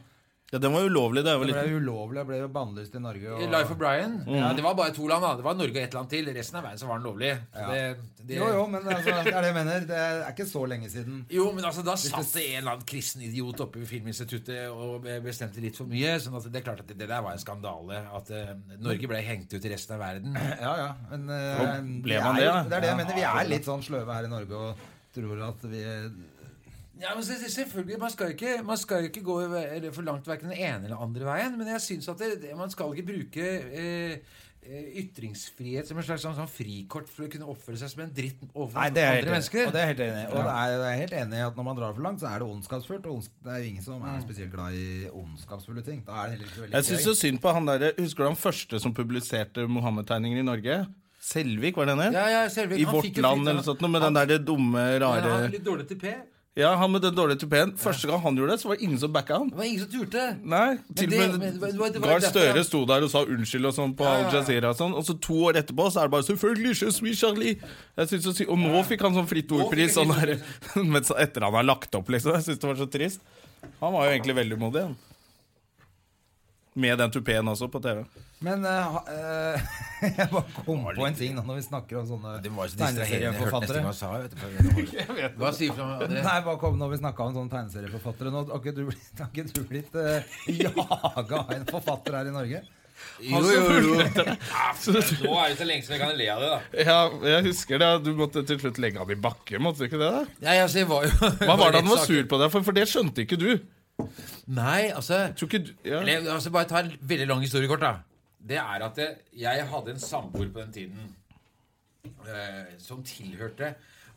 A: Ja, den var ulovlig da jeg var
B: Det ble
A: liten.
B: jo ulovlig, det ble jo bannlyst i Norge. Og...
C: Life of Brian.
B: Mm.
C: Ja, det var bare to land. da Det var Norge og ett land til. Resten av verden så var den lovlig. Så Det, det,
B: Jo, jo, men altså, det er det jeg mener. Det er ikke så lenge siden.
C: Jo, men altså da satt det en eller annen kristen idiot oppe ved Filminstituttet og bestemte litt for mye. Sånn at det er klart at det, det der var en skandale. At eh, Norge ble hengt ut i resten av verden.
B: Ja, ja. Men eh,
A: Nå ble
B: vi er,
A: man det, da.
B: det er det jeg mener. Vi er litt sånn sløve her i Norge og tror at vi
C: Ja, men se- se- selvfølgelig, Man skal jo ikke, man skal jo ikke gå ve- for langt verken den ene eller andre veien. Men jeg syns at det, det- man skal ikke bruke eh, eh, ytringsfrihet som en slags sånn, sånn frikort for å kunne oppføre seg som en dritt overfor
B: Nei, det er jeg helt
C: andre
B: enig i.
C: mennesker.
B: Og det er jeg helt enig i. Og det er, jeg er helt enig i at når man drar for langt, så er det ondskapsfullt. Og ondsk det er jo ingen som er spesielt glad i ondskapsfulle ting. Da er det heller ikke så veldig
A: Jeg syns så synd på han der, Husker du han første som publiserte Mohammed-tegninger i Norge? Selvik, var det han het?
C: Ja, ja, Selvik,
A: I
C: han
A: Vårt
C: fikk jo
A: Land
C: fint,
A: eller
C: han-
A: noe sånt, noe med den der det dumme,
C: Men han er
A: rare
C: litt dårlig til P.
A: Ja, han med den dårlige tupeen. Første gang han gjorde det, så var det ingen som backa han.
C: Det var ingen som turte.
A: Nei, til
C: det-
A: og
C: men det var- det var-
A: med
C: det var
A: Gahr
C: derfor
A: Støre
C: han-
A: sto der og sa unnskyld og sånn på
C: Ja, ja,
A: Al
C: ja.
A: Jazeera og sånn, og så to år etterpå så er det bare 'Selvfølgelig, je suis Charlie'. Jeg synes så sy- Og nå fikk han sånn fritt ordpris,
C: fikk
A: sånn
C: han
A: der, men så etter han har lagt opp, liksom. Jeg syns det var så trist. Han var jo egentlig veldig modig, han. Med den tupeen også, på TV.
B: Men eh, ha- eh, jeg bare kom på en ting da når vi snakker om sånne tegneserieforfattere.
C: altså. Hva sier fra andre?
B: Nei, bare kom når vi snakket om sånne tegneserieforfattere nå. Har ikke du blitt, har ikke du blitt eh, jaga av en forfatter her i Norge?
C: Jo, jo, jo. Nå er det så lenge siden jeg kan le av det, da.
A: Ja, jeg husker det. Du måtte til slutt legge han i bakken, måtte du ikke det? da?
C: Nei, altså, jeg var jo
A: Hva var det han var sur på deg for? For det skjønte ikke du.
C: Nei, altså
A: Tror ikke du ja.
C: Eller, altså, bare ta en veldig lang historiekort, da. Det er at eh, jeg hadde en samboer på den tiden eh, som tilhørte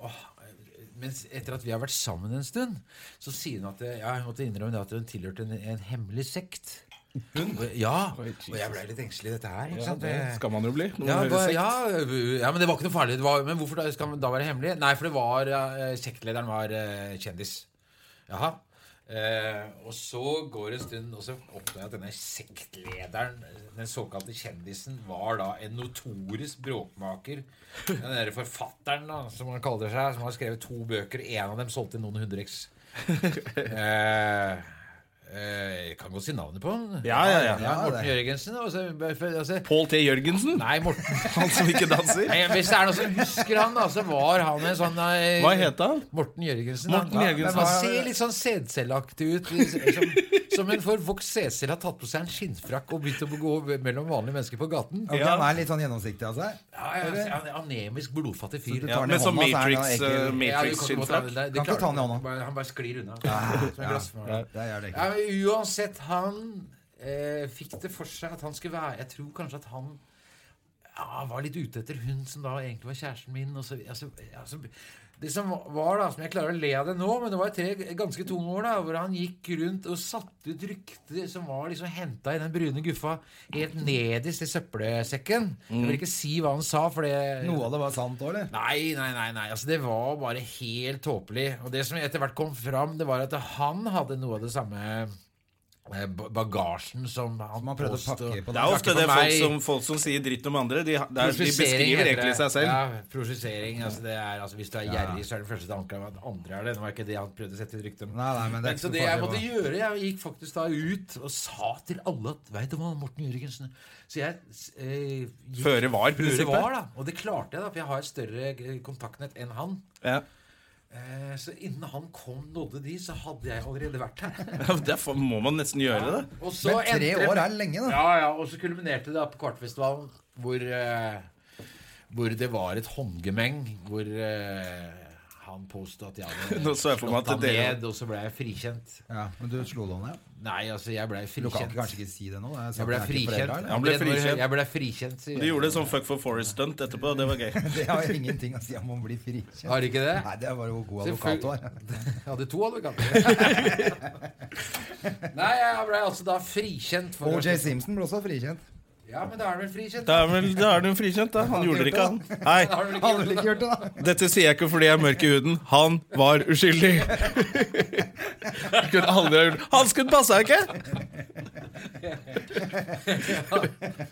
C: åh, eh, mens etter at vi har vært sammen en stund, så sier hun at eh, ja, jeg måtte innrømme det at hun tilhørte en, en hemmelig sekt. Hun? Ja. Og jeg ble litt engstelig i dette her. Ikke sant?
A: Det
C: Eh,
A: skal man jo bli. Når
C: ja,
A: man
C: hva-
A: hører sekt.
C: ja, øh, ja, men det var ikke noe farlig. Det var, men hvorfor da, skal man da være hemmelig? Nei, for det var eh, sektlederen var eh, kjendis. Jaha. Eh, og så går det en stund, og så oppdager jeg at denne sektlederen, den såkalte kjendisen, var da en notorisk bråkmaker. Den der forfatteren, da, som han kaller seg, som har skrevet to bøker. En av dem solgte noen hundre eks. Eh, eh, jeg kan godt si navnet på han.
A: Ja, ja, ja.
C: Morten Jørgensen. Altså, altså,
A: Pål T. Jørgensen?
C: Nei, Morten.
A: Han som ikke danser?
C: Nei, Hvis det er noen som husker han, da, så var han en sånn eh,
A: Hva het han?
C: Morten Jørgensen.
A: Morten
C: han,
A: Jørgensen.
C: han ser litt sånn sædcellaktig ut. litt sånn Som, som en forvokst sædcelle har tatt på seg en skinnfrakk og begynt å gå mellom vanlige mennesker på gaten.
B: Ok,
A: Ja.
B: Han er litt sånn gjennomsiktig av seg.
C: Ja, ja, han er Anemisk, blodfattig fyr.
B: du
A: Ja,
B: tar den i
A: med sånn
B: hånda, så er han
A: Matrix,
B: egentlig-
A: eh, Matrix
C: du kan ikke ta
A: skinnfrakk.
C: det der. Det
B: Kan ikke
C: klarer
B: ta han i
C: du
B: hånda.
C: Bare- Han bare sklir unna. Som en glassmaler.
B: Ah, Det er jævlig
C: Ja,
B: ekkelt.
C: men uansett, han eh, fikk det for seg at han skulle være Jeg tror kanskje at han ja, var litt ute etter hun som da egentlig var kjæresten min. Og så, altså, altså, det som var da, som jeg klarer å le av det nå, men det var tre ganske tunge år da, hvor han gikk rundt og satte ut rykter som var liksom henta i den brune guffa helt nederst i søppelsekken. Jeg vil ikke si hva han sa, for det
B: Mm. Noe av det var sant òg, eller?
C: Nei, nei, nei, nei. Altså, det var bare helt tåpelig. Og det som etter hvert kom fram, det var at han hadde noe av det samme eh, ba- bagasjen som han
B: Man prøvde å
C: påstod-
B: pakke på
A: Det er ofte
C: Takke
A: det
C: for
A: folk
C: meg.
A: som, folk som sier dritt om andre. De, det er, de
C: Prosjessering
A: beskriver
C: heter
A: egentlig
C: det.
A: seg selv.
C: Ja, prosjessering. Altså det er, altså hvis du er gjerrig, så er det første til anklage at andre er det. Det var ikke det han prøvde å sette ut rykte om.
B: Nei, nei, men det er ikke
C: så
B: så
C: det jeg
B: farlig,
C: måtte
B: hva?
C: gjøre, jeg gikk faktisk da ut og sa til alle at Veit du hva, Morten Jørgensen Så jeg eh,
A: Føre
C: gikk- Føre
A: var-prinsippet.
C: var, da. Og det klarte jeg, da, for jeg har et større eh, kontaktnett enn han.
A: Ja.
C: Eh, Så innen han kom nådde de, så hadde jeg allerede vært her.
A: Ja, Derfor må man nesten gjøre det.
C: Og så
B: Men tre
C: endte-
B: år er lenge, da.
C: Ja, ja, og så kulminerte det da på Kvartfestivalen, hvor, eh, hvor det var et håndgemeng, hvor eh, han påstod at jeg hadde
A: Nå så jeg for meg at
C: slått ham
A: dere-
C: ned, og så ble jeg frikjent.
B: Ja, men du slo det ned?
C: Nei, altså, jeg ble
B: Du kan
C: frikjent.
B: ikke, kanskje ikke si det nå? Jeg,
C: Jeg ble frikjent.
A: Han ble frikjent.
C: Jeg ble frikjent, sier
A: Du
C: jeg.
A: gjorde det som Fuck for Forest-stunt etterpå, og det var gøy.
B: Det har jo ingenting å si om å bli frikjent.
C: Har du ikke det?
B: Nei, det er bare hvor god advokat du er.
C: Jeg hadde to advokater. Nei, jeg ble altså da frikjent. for-
B: OJ Simpson ble også frikjent.
C: Ja, men da er du vel frikjent?
A: Da er, vel, da er du frikjent, da. Han gjorde det ikke, han.
C: Da
A: Nei,
C: har du vel ikke
B: Han
C: gjort
B: ville
C: det?
B: ikke gjort det, da.
A: dette sier jeg ikke fordi jeg er mørk i huden. Han var uskyldig. Kunne aldri ha gjort Han skulle passa ikke!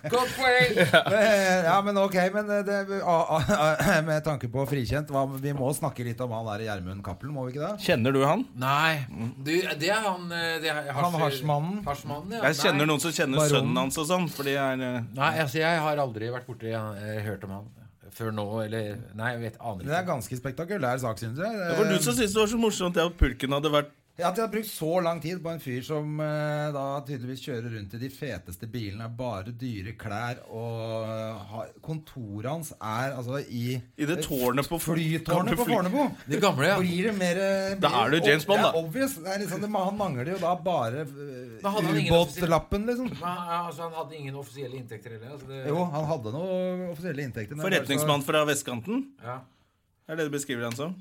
C: Godt poeng!
B: Men, Ja, men ok, men eh, det, a- a- med tanke på frikjent hva, Vi må snakke litt om han der Gjermund Cappelen, må vi ikke det?
A: Kjenner du han?
C: Nei, du, det er han eh, det er hasj-
B: Han hasjmannen.
C: hasjmannen, ja.
A: Jeg kjenner
C: Nei.
A: noen som kjenner
B: Baron.
A: sønnen hans og sånn. Fordi jeg er eh,
C: Nei, altså jeg har aldri vært borti eh, hørt om han før nå, eller Nei, jeg vet, aner
B: Det
C: ikke.
B: er ganske spektakulær sak, syns jeg.
A: Det var du som syntes det var så morsomt det at purken hadde vært
B: Ja, At jeg har brukt så lang tid på en fyr som eh, da tydeligvis kjører rundt i de feteste bilene, har bare dyre klær, og eh, har- kontoret hans er altså i
A: I det tårnet på
B: Flytårnet på
A: fly-
B: Fornebu!
C: Det gamle, ja.
B: Blir det mer eh,
A: Da
B: blir-
A: er du James Bond, da.
B: Det er obvious. Det er liksom, det, han mangler jo da bare
C: Da hadde han
B: eh,
C: ingen
B: ubåtlappen, liksom.
C: eh, altså, han hadde ingen offisielle inntekter heller. altså,
B: Jo, han hadde noen offisielle inntekter. men det var så-
A: Forretningsmann fra vestkanten? Er det det du beskriver han som?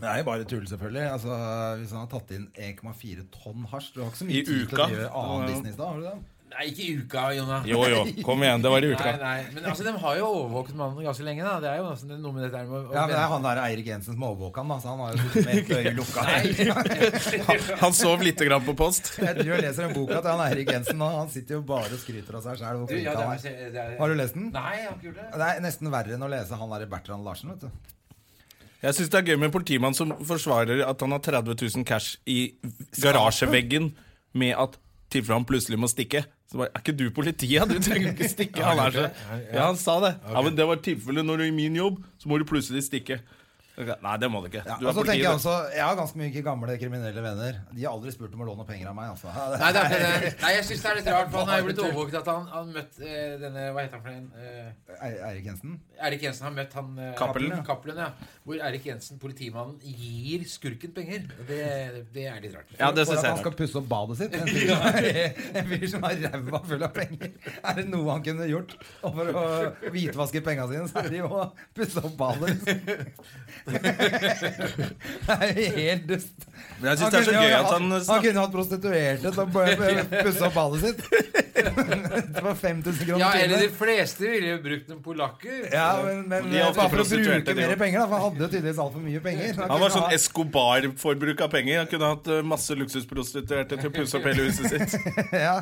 B: Det er jo bare tull, selvfølgelig. Altså, hvis han har tatt inn 1,4 tonn hasj Du har ikke så
A: I
B: mye tid til
A: uka.
B: å gjøre
A: Ja, ja.
B: annen business da? har du det?
C: Nei, ikke i uka, Jonna.
A: Jo, jo. Kom igjen. Det var i
C: Nei,
A: uka.
C: nei. Men altså, de har jo overvåket mannen ganske lenge. da Det er jo nesten noe med dette her med å-
B: Ja, men det er han der Eirik Jensen som overvåka han, da, så han har jo sittet med ett øye lukka.
A: Han sov lite grann på post.
B: Jeg tror jeg leser en boka til han Eirik Jensen, og han sitter jo bare og skryter av seg sjæl.
C: Du, ja, det er- det er-
B: Har du lest den?
C: Nei, jeg har ikke gjort det.
B: Det er nesten verre enn å lese han der Bertrand Larsen, vet du.
A: Jeg syns det er gøy med en politimann som forsvarer at han har 30 000 cash i garasjeveggen med at tilfelle han plutselig må stikke. Så bare, Er ikke du politiet? Du trenger ikke stikke. Han er så Ja, han sa det. Ja, men det var tilfellet når du er i min jobb, så må du plutselig stikke. Nei, det må du ikke.
B: Ja,
A: Du
B: og
A: er
B: så tenker Jeg
A: politiet.
B: også, jeg har ganske mye gamle kriminelle venner. De har aldri spurt om å låne penger av meg. altså.
C: Nei, det er ikke det. Nei, jeg syns det er litt rart, for han er jo blitt overvåket at han, han møtt eh, denne Hva heter han for en? Eh,
B: Ei- Eirik Jensen?
C: Erik Jensen har møtt han eh,
A: Cappelen.
C: Cappelen, ja. Hvor Erik Jensen, politimannen, gir skurken penger. Det, det er litt rart.
A: Ja, det
B: for at
A: syns jeg
B: han
A: er
B: skal
A: rart.
B: pusse opp badet sitt. En fyr som er- en fyr som har ræva full av penger. Er det noe han kunne gjort Og for å hvitvaske penga sine, så er det jo å pusse opp badet. Det er jo helt dust.
A: Men jeg syns det
B: kunne
A: er så
B: jo
A: gøy at
B: hatt-
A: han eh,
B: han
A: snakker
B: kunne hatt prostituerte til å bare pusse opp badet sitt. Det var 5000 kroner
C: Ja, eller de
B: timen.
C: fleste ville jo brukt en polakker.
B: Ja, men, men
A: De er ofte
B: bare for å
A: prostituerte,
B: bruke
A: de
B: mer
A: også.
B: penger, da. For han hadde jo tydeligvis altfor mye penger. så
A: Han var
B: kunne ha-
A: sånn Escobar-forbruk av penger. Han kunne hatt eh, masse luksusprostituerte til å pusse opp hele huset sitt.
B: Ja,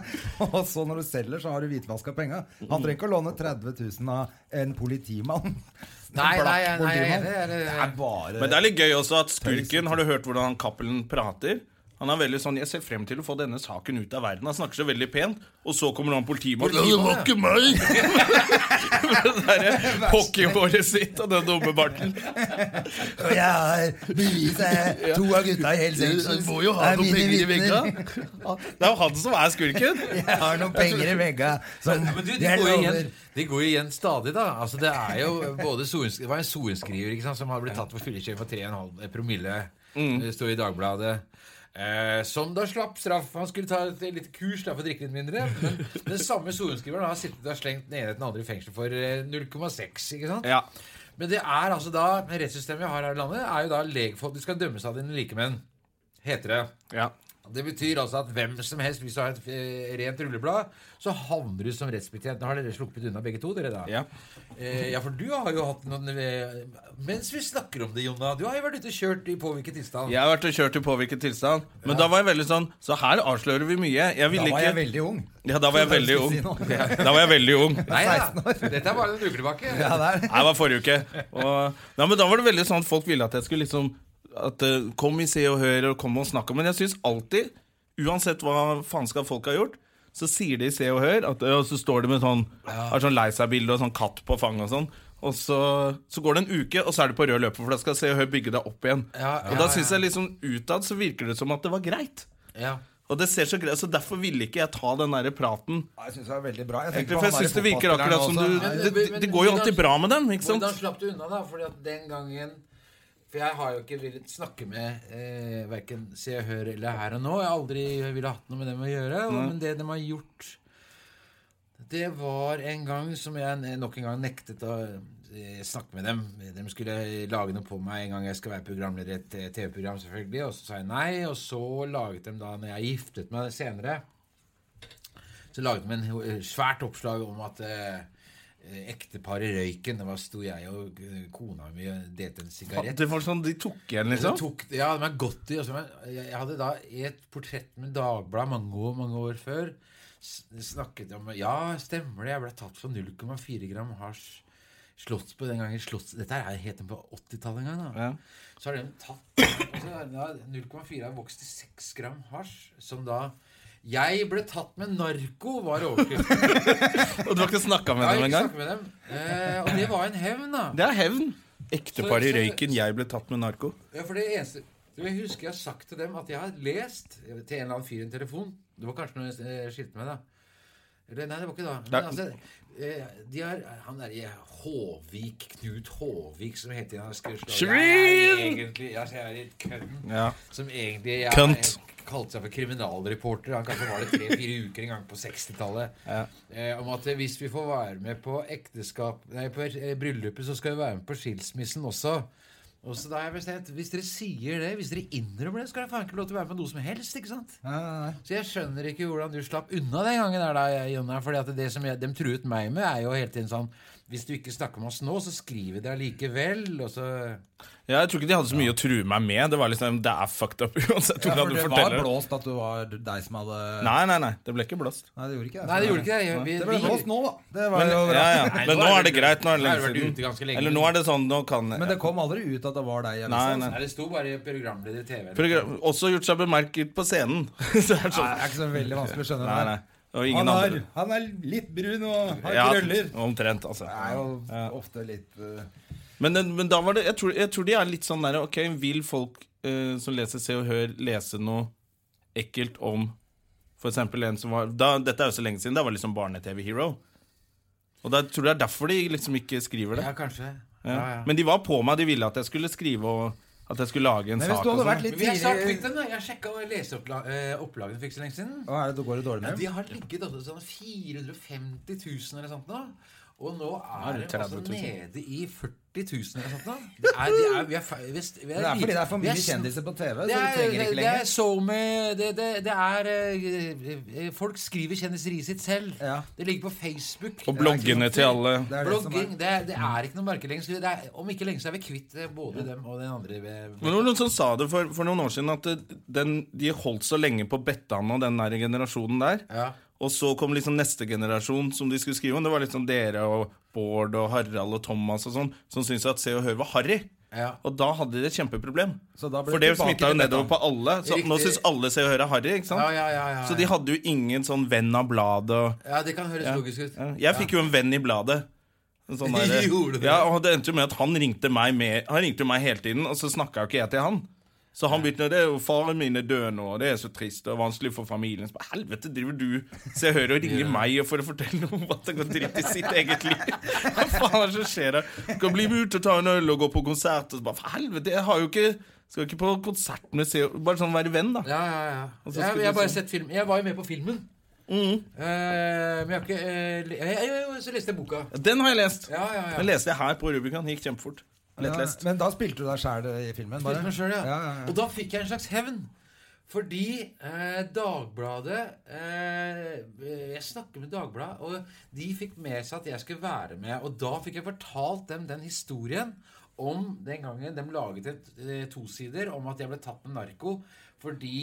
B: og så når du selger, så har du hvitvaska penga. Han trenger ikke å låne 30 000 av en politimann.
C: Mm. Nei,
B: En
C: nei,
B: blakk
C: nei, jeg er
B: politimann.
C: enig, jeg er enig.
B: Det er bare
A: Men det er litt gøy også at skurken Har du hørt hvordan han Cappelen prater? Han er veldig sånn 'Jeg ser frem til å få denne saken ut av verden'. Han snakker så veldig pent, og så kommer han politimann. Det var ikke meg! Det derre hockeyhåret sitt og den dumme barten.
B: Og jeg har beviset! To av gutta i Hells Angels er mine vitner.
A: Det er jo han som er skurken.
B: Jeg har noen penger i vegga som
C: Men du, de,
B: jeg
C: går jo
B: lover.
C: igjen, de går jo igjen stadig, da. Altså, det, er jo både sorensk- det var en sorenskriver ikke sant, som har blitt tatt for fyllekjøring for 3,5 promille. Det står i Dagbladet. Eh, som da slapp straff. Han skulle ta et lite kurs da, for å drikke litt mindre. Men den samme sorenskriveren har sittet og slengt den ene etter den andre i fengsel for eh, 0,6. ikke sant?
A: Ja.
C: Men det er altså da rettssystemet vi har her i landet, er jo da legfolk De skal dømmes av dine likemenn, heter det.
A: ja.
C: Det betyr altså at hvem som helst, hvis du har et eh, rent rulleblad, så havner du som rettsbetjent. Da har dere sluppet unna begge to, dere da.
A: Ja.
C: Eh, ja, for du har jo hatt noen eh, Mens vi snakker om det, Jonna, du har jo vært ute og kjørt i påvirket tilstand.
A: Jeg har vært og kjørt i påvirket tilstand, men da var jeg veldig sånn Så her avslører vi mye. Jeg
B: Da
A: ville
B: var jeg
A: ikke
B: veldig ung.
A: Ja, da var jeg veldig ung. Ja, Da var jeg veldig ung.
C: Nei da,
B: 16 år.
C: dette er bare noen uker tilbake.
B: Ja, det er.
A: Nei, det var forrige uke. Og, nei, men da var det veldig sånn at folk ville at jeg skulle liksom at, eh, Kom i Se og Hør og kom og snakk om Men jeg syns alltid, uansett hva faenskap folk har gjort, så sier de i Se og Hør at, eh, Og så står de med sånn Har sånn lei seg-bilde og sånn katt på fanget og sånn. Og så, så går det en uke, og så er det på rød løper, for da skal Se og Hør bygge deg opp igjen.
C: Ja,
A: og
C: ja,
A: da syns
C: ja.
A: jeg liksom utad så virker det som at det var greit.
C: Ja.
A: Og det ser så greit Så derfor ville ikke jeg ta den derre praten.
B: Ja, Jeg syns det var veldig bra. Jeg tenker
A: Egentlig,
B: på
A: for jeg
B: han
A: syns
B: der
A: det virker
B: fotballspilleren
A: akkurat som du
B: også.
A: Det, det, det går jo alltid bra med dem, ikke sant?
C: Hvordan slapp du unna, da? Fordi at den gangen For jeg har jo ikke villet snakke med eh, verken Se og Hør eller Her og Nå. Jeg har aldri ville hatt noe med dem å gjøre. og- Men det de har gjort Det var en gang som jeg ne- nok en gang nektet å eh, snakke med dem. De skulle lage noe på meg en gang jeg skal være programleder i et eh, TV-program, selvfølgelig. Og så sa jeg nei, og så laget de da, når jeg giftet meg senere så laget de en ho- eh, svært oppslag om at eh, eh, ektepar i røyken, det var sto jeg og eh, kona mi og delte en sigarett.
A: Det var sånn, De tok igjen,
C: Så
A: liksom?
C: tok, ja, de er godt i. og så var- Jeg jeg hadde da i et portrett med Dagbladet mange år, mange år før s- snakket om Ja, stemmer det, jeg ble tatt for 0,4 gram hasj. Slått på den gangen slått, Dette er helt på 80-tallet en gang. da
A: Ja.
C: Så har de tatt og så har de da 0,4 har vokst til 6 gram hasj, som da Jeg ble tatt med narko, var overskriften.
A: Og du har ikke snakka med
C: Ja,
A: dem
C: ikke
A: engang?
C: snakke med dem. Eh, og det var en hevn, da.
A: Det er hevn. Ektepar i
C: Så- så-
A: røyken, jeg ble tatt med narko.
C: Ja, for det eneste Så jeg husker jeg har sagt til dem at jeg har lest til en eller annen fyr i en telefon Det var kanskje når jeg eh, skilte meg, da. Eller, nei, det var ikke da. Men, altså, eh, de har, han derre Håvik, Knut Håvik, som hele tiden har skrevet slå- Jeg er egentlig altså, jeg er litt kønn.
A: Ja.
C: Som egentlig jeg,
A: Kønt.
C: kalte seg for kriminalreporter. Han kanskje var det tre-fire uker en gang på 60-tallet. Eh, om at eh, hvis vi får være med på ekteskap Nei, på eh, bryllupet, så skal vi være med på skilsmissen også. Og så da har jeg bestemt Hvis dere sier det, hvis dere innrømmer det, så skal jeg faen ikke lov til å være med på noe som helst. ikke sant? Så jeg skjønner ikke hvordan du slapp unna den gangen der, da, Jonna. Fordi at det som jeg, de truet meg med, er jo hele tiden sånn Hvis du ikke snakker med oss nå, så skriver vi det allikevel. Og så
A: Ja, jeg tror ikke de hadde så mye å true meg med. Det var liksom, det er fucked up uansett. om
B: Ja, for
A: du
B: det var
A: forteller det.
B: blåst at det var deg som hadde
A: Nei, nei, nei. Det ble ikke blåst.
B: Nei, det gjorde ikke det.
C: Nei, det gjorde ikke det. Jeg- Vi,
B: Det ble blåst nå, da. Det var
A: Men,
B: jo
A: ja,
B: bra.
A: ja.
C: Nei,
A: Men
C: nå
A: nå
C: er
A: er det
C: det-
A: greit. Nå er det
C: nå har det vært
A: lenge
C: ute ganske
A: siden.
C: lenge.
A: Eller nå er det sånn, nå kan
B: Men det kom aldri ut at det var deg. i avisen,
A: Nei,
B: altså.
A: nei.
C: Nei, det sto bare programleder i TV.
A: Program, også gjort seg bemerket på scenen. Så
B: Nei,
A: det er sånn.
B: Det er ikke så veldig vanskelig å skjønne.
A: Nei,
B: det.
A: nei. Og ingen
B: han,
A: andre.
B: er, han er litt brun og har
A: Ja,
B: krøller.
A: omtrent, altså.
B: Det er jo ofte litt eh,
A: Men, den- men da var det jeg tror, jeg tror de er litt sånn der Ok, vil folk eh, som leser Se og Hør, lese noe ekkelt om for eksempel en som var da, Dette er jo så lenge siden. Da var det liksom Barne-TV-hero. Og da tror jeg det er derfor de liksom ikke skriver det.
C: Ja, kanskje.
A: Ja.
C: Ja, ja.
A: Men de var på meg. De ville at jeg skulle skrive og at jeg skulle lage en
B: Men
A: sak.
B: hvis du
A: og
B: hadde
A: sånn.
B: vært litt
C: Men jeg sa kvitt
B: tidlig
C: den, da. Jeg sjekka leseopplagene eh, for ikke så lenge siden.
B: Hva er det du går det dårlig
C: Ja,
B: med?
C: de har ligget altså sånn 450 000 eller sånt nå. Og nå
A: Er
C: er
A: det
C: de altså
A: 30 000?
C: nede i 40 000 eller sånt nå. Det er, det er, vi er, fe- vi er, vi
B: Det er fordi det er for
C: vi
B: mye
C: sn-
B: kjendiser på TV, så
C: Det
B: du
C: er,
B: trenger ikke
C: det er
B: lenger.
C: SoMe det, det, det er eh, eh, Folk skriver kjendiseriet sitt selv.
B: Ja.
C: Det ligger på Facebook.
A: Og bloggene til alle.
B: Det er det som
C: Blogging,
B: er.
C: det er, det er ikke noe merke lenger. så Det er, om ikke lenge så er vi kvitt eh, både dem og den andre. eh, ved-
A: Men det var noen som sa det for, for noen år siden, at det- den, de holdt så lenge på Bettan og den der generasjonen der.
C: Ja.
A: Og så kom liksom neste generasjon som de skulle skrive om. Det var liksom dere og Bård og Harald og Thomas og sånn, som syntes at Se og Hør var harry.
C: Ja.
A: Og da hadde de et kjempeproblem.
B: Så da ble
A: For
B: det
A: det
B: tilbake
A: smitta jo
B: til
A: nedover på alle. Så nå
C: Riktig.
A: syns alle Se og Hør er harry, ikke sant?
C: Ja, ja, ja, ja,
A: Så de
C: ja.
A: hadde jo ingen sånn venn av bladet og
C: ja, det kan høres logisk ut.
A: ja. Jeg fikk jo en venn i bladet. En Sånn der,
C: Gjorde du det?
A: ja, og det endte jo med at han ringte meg, med, han ringte meg hele tiden, og så snakka jo ikke jeg til han. Så han begynte det er jo faren min er død nå, og det er så trist og vanskelig for familien. Så bare, helvete driver du Så jeg hører og ringer meg for å fortelle noe om at det går dritt i sitt eget liv. Hva faen er det som skjer der? Skal bli med ut og ta en øl og gå på konsert. Og så bare, for helvete, jeg har jo ikke Skal ikke på konsert med Se og Bare sånn være venn, da.
C: Ja, ja, ja.
A: så
C: Jeg,
A: skulle
C: jeg, har
A: du Mhm.
C: bare
A: sånn-
C: sett film. jeg var jo med på filmen. Eh, men jeg har ikke eh, le- jeg, jeg, jeg, Så leste jeg boka.
A: Den har jeg lest.
C: Ja, ja, ja.
A: Den leste jeg her på Rubicon. Gikk kjempefort.
B: Ja,
A: Lettlest.
B: men da spilte du deg sjæl i filmen?
C: Spilte meg selv, ja.
B: Ja, ja, ja.
C: Og da fikk jeg en slags hevn. Fordi eh, Dagbladet eh, Jeg snakker med Dagbladet, og de fikk med seg at jeg skulle være med. Og da fikk jeg fortalt dem den historien om den gangen de laget et eh, tosider om at jeg ble tatt med narko fordi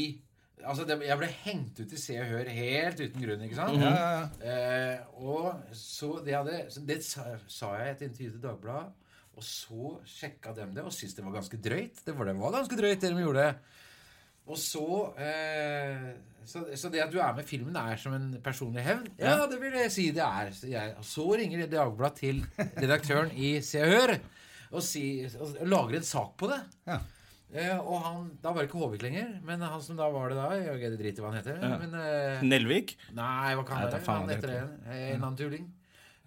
C: Altså, det- jeg ble hengt ut i Se og Hør helt uten grunn, ikke sant? Eh, og så det, hadde, så det sa, sa jeg i et intervju til Dagbladet, og så sjekka dem det og syntes det var ganske drøyt. Det var, det var ganske drøyt, det de gjorde. Og så, eh, så Så det at du er med i filmen, er som en personlig hevn? Ja, det vil jeg si det er. Så, jeg, og så ringer Dagbladet til redaktøren i Se og Hør og, si, og lager en sak på det.
B: Ja.
C: Eh, og han, Da var det ikke Håvik lenger, men han som da var det da Jeg driter i hva han heter. Men, eh,
A: Nelvik?
C: Nei, hva kan
A: Nei,
C: det
A: det
C: være?
A: er faen
C: Han
A: det
C: heter det.
A: heter.
B: Mm.
C: Eh, En annen tulling.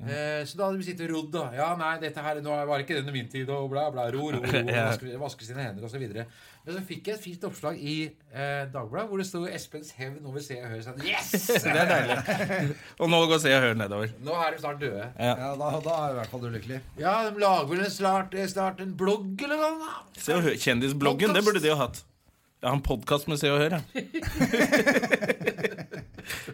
C: Eh, så da hadde vi sittet og rodd, da. Ja, nei, dette her nå var ikke denne min tid, og bla, bla. Ro, ro, ro. og
A: Ja.
C: Vaske, vaske sine hender, og så videre. Men så fikk jeg et fint oppslag i eh, Dagbladet hvor det sto 'Espens hevn over Se og Hør'. Sånn, yes!
A: Det er deilig. Og nå går Se og Hør nedover.
C: Nå er de snart døde.
B: Ja, da, da er i hvert fall du lykkelig.
C: Ja, de lager vel snart, eh, snart en blogg eller noe? da.
A: Se og Hør, Kjendisbloggen, det burde de jo hatt. Jeg har en podkast med Se og Hør. jeg.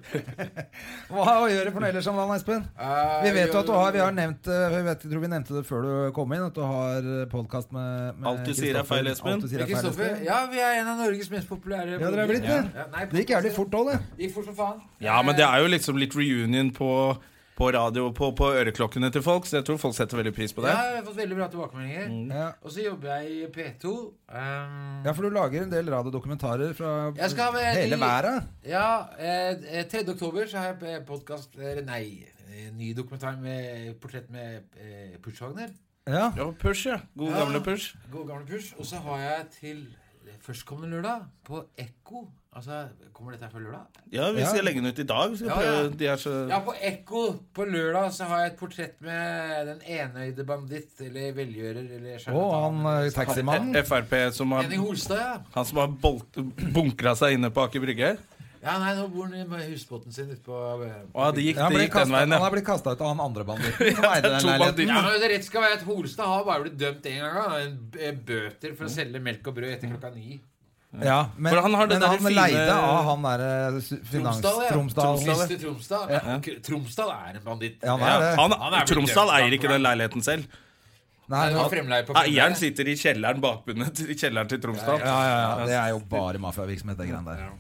B: Hva gjør du for noe ellers om dagen, Espen?
C: Eh,
B: Vi vet jo at du har, vi har
C: jo-
B: nevnt eh, vi vet, jeg tror vi nevnte det før du kom inn, at du har podkast med, med
A: Alt du sier er
B: Kristoffer.
A: feil, Espen.
B: Alt du sier er feil,
C: Kristoffer,
B: Espen.
C: ja, vi er en av Norges mest populære
B: Ja, dere er blitt det.
C: Ja, nei,
B: Det gikk jævlig fort òg, det.
C: Gikk fort som faen.
A: Ja, men det er jo liksom litt reunion på, på radio og på, på øreklokkene til folk, så jeg tror folk setter veldig pris på det.
C: Ja, Eh, jeg har fått veldig bra tilbakemeldinger.
B: Ja.
C: Og så jobber jeg i P2. ehm,
B: ja, for du lager en del radiodokumentarer fra
C: Jeg skal ha-
B: hele
C: de-
B: verden.
C: ja, eh, eh, 3. oktober så har jeg podkast Nei, eh, ny dokumentar med portrett med eh, Pushwagner.
B: Ja.
A: Ja, push, ja. God gamle push.
C: God gamle Push. Og så har jeg til Førstkommende lørdag, på Ekko Altså, Kommer dette her før lørdag?
A: Ja, vi skal legge den ut i dag. Vi skal
C: Ja, ja.
A: prøve. De er så
C: Ja, på Ekko på lørdag så har jeg et portrett med den enøyde banditt eller velgjører eller
B: Å, han eh, taximannen.
A: Frp som har
C: Henning Holstad, ja.
A: Han som har bolt, bunkra seg inne på Aker Brygge?
C: Ja, nei, nå bor han med husbåten sin ute på eh,
A: Å, det gikk,
B: Ja, han,
A: det
B: ble
A: gikk
B: kastet,
A: den
B: han
A: veien, ja.
B: har blitt kasta ut av han andre banditten som eide
A: det er
B: den
A: to
B: leiligheten.
C: ja, men det rett skal være at Holstad har bare blitt dømt én gang. da. En b- Bøter for å selge melk og brød etter klokka ni.
B: Ja, men
A: For han
B: han,
A: har det
B: men
A: der
B: han
A: fine-
B: leide av han eh, derre
C: Tromsdal, ja.
B: finans-Tromsdal.
A: Tromsdal,
C: Mr. Tromsdal. K- Tromsdal er en banditt.
B: Ja, han
A: Ja,
B: er det.
A: han,
C: Han er blitt
A: Tromsdal
C: dømt,
A: eier ikke den
C: han.
A: leiligheten selv.
B: Nei,
C: Han
B: ja,
C: var fremleie på
A: Eieren
C: fremleie.
A: sitter i kjelleren bakbundet i kjelleren til Tromsdal.
B: ja, ja, det er jo bare mafiavirksomhet, det greiene der.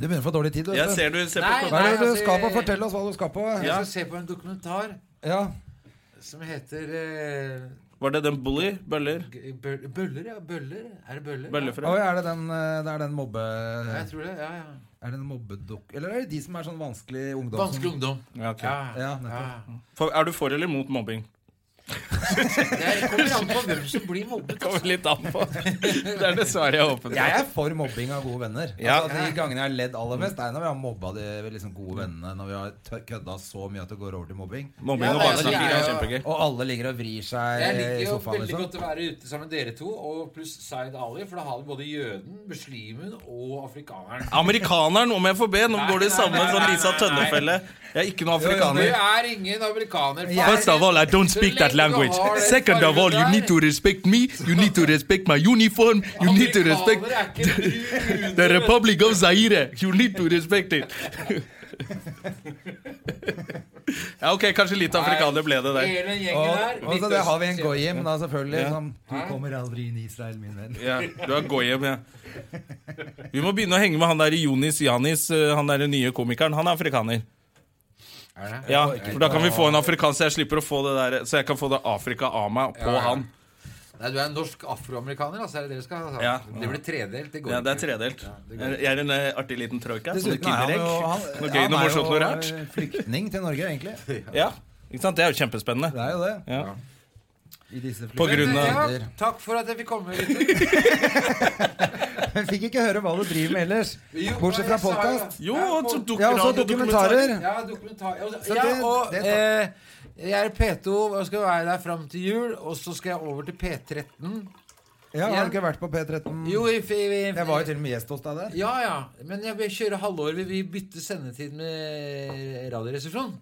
B: Du begynner å få dårlig tid, du.
A: Jeg
B: vet du.
A: ser du ser på
C: Nei,
A: klokka.
B: Hva er det
C: altså,
B: du skal på? Fortell oss hva du skal på.
C: Jeg skal se på en dokumentar
B: Ja.
C: som heter eh,
A: Var det den Bully? Bøller?
C: G- Bøl- Bøller, ja. Bøller. Er det bøller?
B: Oi,
A: Bøllefrø?
B: er det den, eh, det er den mobbe...
C: Ja, jeg tror det. Ja, ja.
B: Er det en mobbedukk... Eller er det de som er sånn vanskelig ungdom? som-
C: Vanskelig ungdom.
A: Ja, ok.
B: Ja,
C: ja.
B: nettopp.
A: For, er du for eller mot mobbing?
C: Det kommer an på hvem som blir mobbet.
A: Kommer litt an på. Det er det svaret jeg er åpen
B: Jeg er for mobbing av gode venner.
A: Ja.
B: Altså, de gangene jeg har ledd aller mest, det er når vi har mobba de liksom, gode vennene. Når vi har tø- kødda så mye at det går over til mobbing.
A: Mobbing og
C: Ja, altså,
A: barnesnakking
C: jeg
A: er
C: er-
A: kjempegøy.
B: Og alle ligger og vrir seg
C: Jeg
B: Eh, i
C: liker jo
B: sofaen.
C: veldig
B: Liksom.
C: godt å være ute sammen med dere to, og pluss Zaid Ali, for da har vi både jøden, muslimen og afrikaneren.
A: Amerikaneren, om jeg får be. Nå
C: Nei,
A: går det i
C: nei,
A: samme
C: nei,
A: sånn
C: nei,
A: Lisa
C: nei, nei.
A: Tønnefelle. Jeg er ikke noen
C: Du
A: afrikaner.
C: er ingen amerikaner.
B: Jeg-
A: First of all, I don't speak that language. Second of all, you need to respect me. You need to respect my uniform. You need to respect the Republic of Zaire. You need to respect it. ja, ok, kanskje litt afrikaner ble det der.
C: Hele den gjengen
B: Og,
C: der.
B: og så det har vi en
C: Midtøsten-
B: goyim, da, selvfølgelig.
A: Ja.
B: Som, du kommer aldri inn i Israel, min venn.
A: Ja, du er goyim, ja. Vi må begynne å henge med han der Jonis Janis, eh, han der nye komikeren. Han er afrikaner.
C: Er det?
A: Ja, for da kan vi få en afrikaner, så jeg slipper å få det der Så jeg kan få det Afrika av meg på
C: Ja.
A: han.
C: Nei, du er en norsk afroamerikaner, altså. Er det dere skal ha?
A: Ja.
C: Det blir tredelt. Det går
A: Ja, det er
C: ikke.
A: tredelt.
C: det går
A: Jeg er en eh, artig liten troika. Sånne
B: Dessuten er han
A: kinderegg.
B: jo han,
A: Noe gøy,
B: han
A: noe
B: er
A: morsomt, noe rart.
B: jo flyktning til Norge, egentlig.
A: Ja, ikke sant? Det er jo
B: Det
A: kjempespennende.
B: er jo det.
A: Ja.
B: I disse
A: På grunn av-
B: flyktninger.
C: Ja, takk for at jeg fikk komme. gutter.
B: Jeg fikk ikke høre hva du driver med ellers.
C: Jo,
B: Bortsett fra
C: jeg sa jo-
B: podkast.
A: Jo,
C: Ja,
A: og så
C: pod-
A: dukker
B: Ja, og så
A: radio-
B: dokumentarer.
C: Ja, dokumentar. Ja,
B: Så
C: ja,
B: det-
C: og
B: det
C: eh, jeg er P2 og skal være der fram til jul, og så skal jeg over til P13.
B: Ja, har du ikke vært på P13?
C: Jo, i, i, i,
B: Mm. Jeg var jo til og med gjest hos deg der.
C: Ja, ja. Men jeg vil kjøre halvår. Vi, vi bytter sendetid med Radioresepsjonen.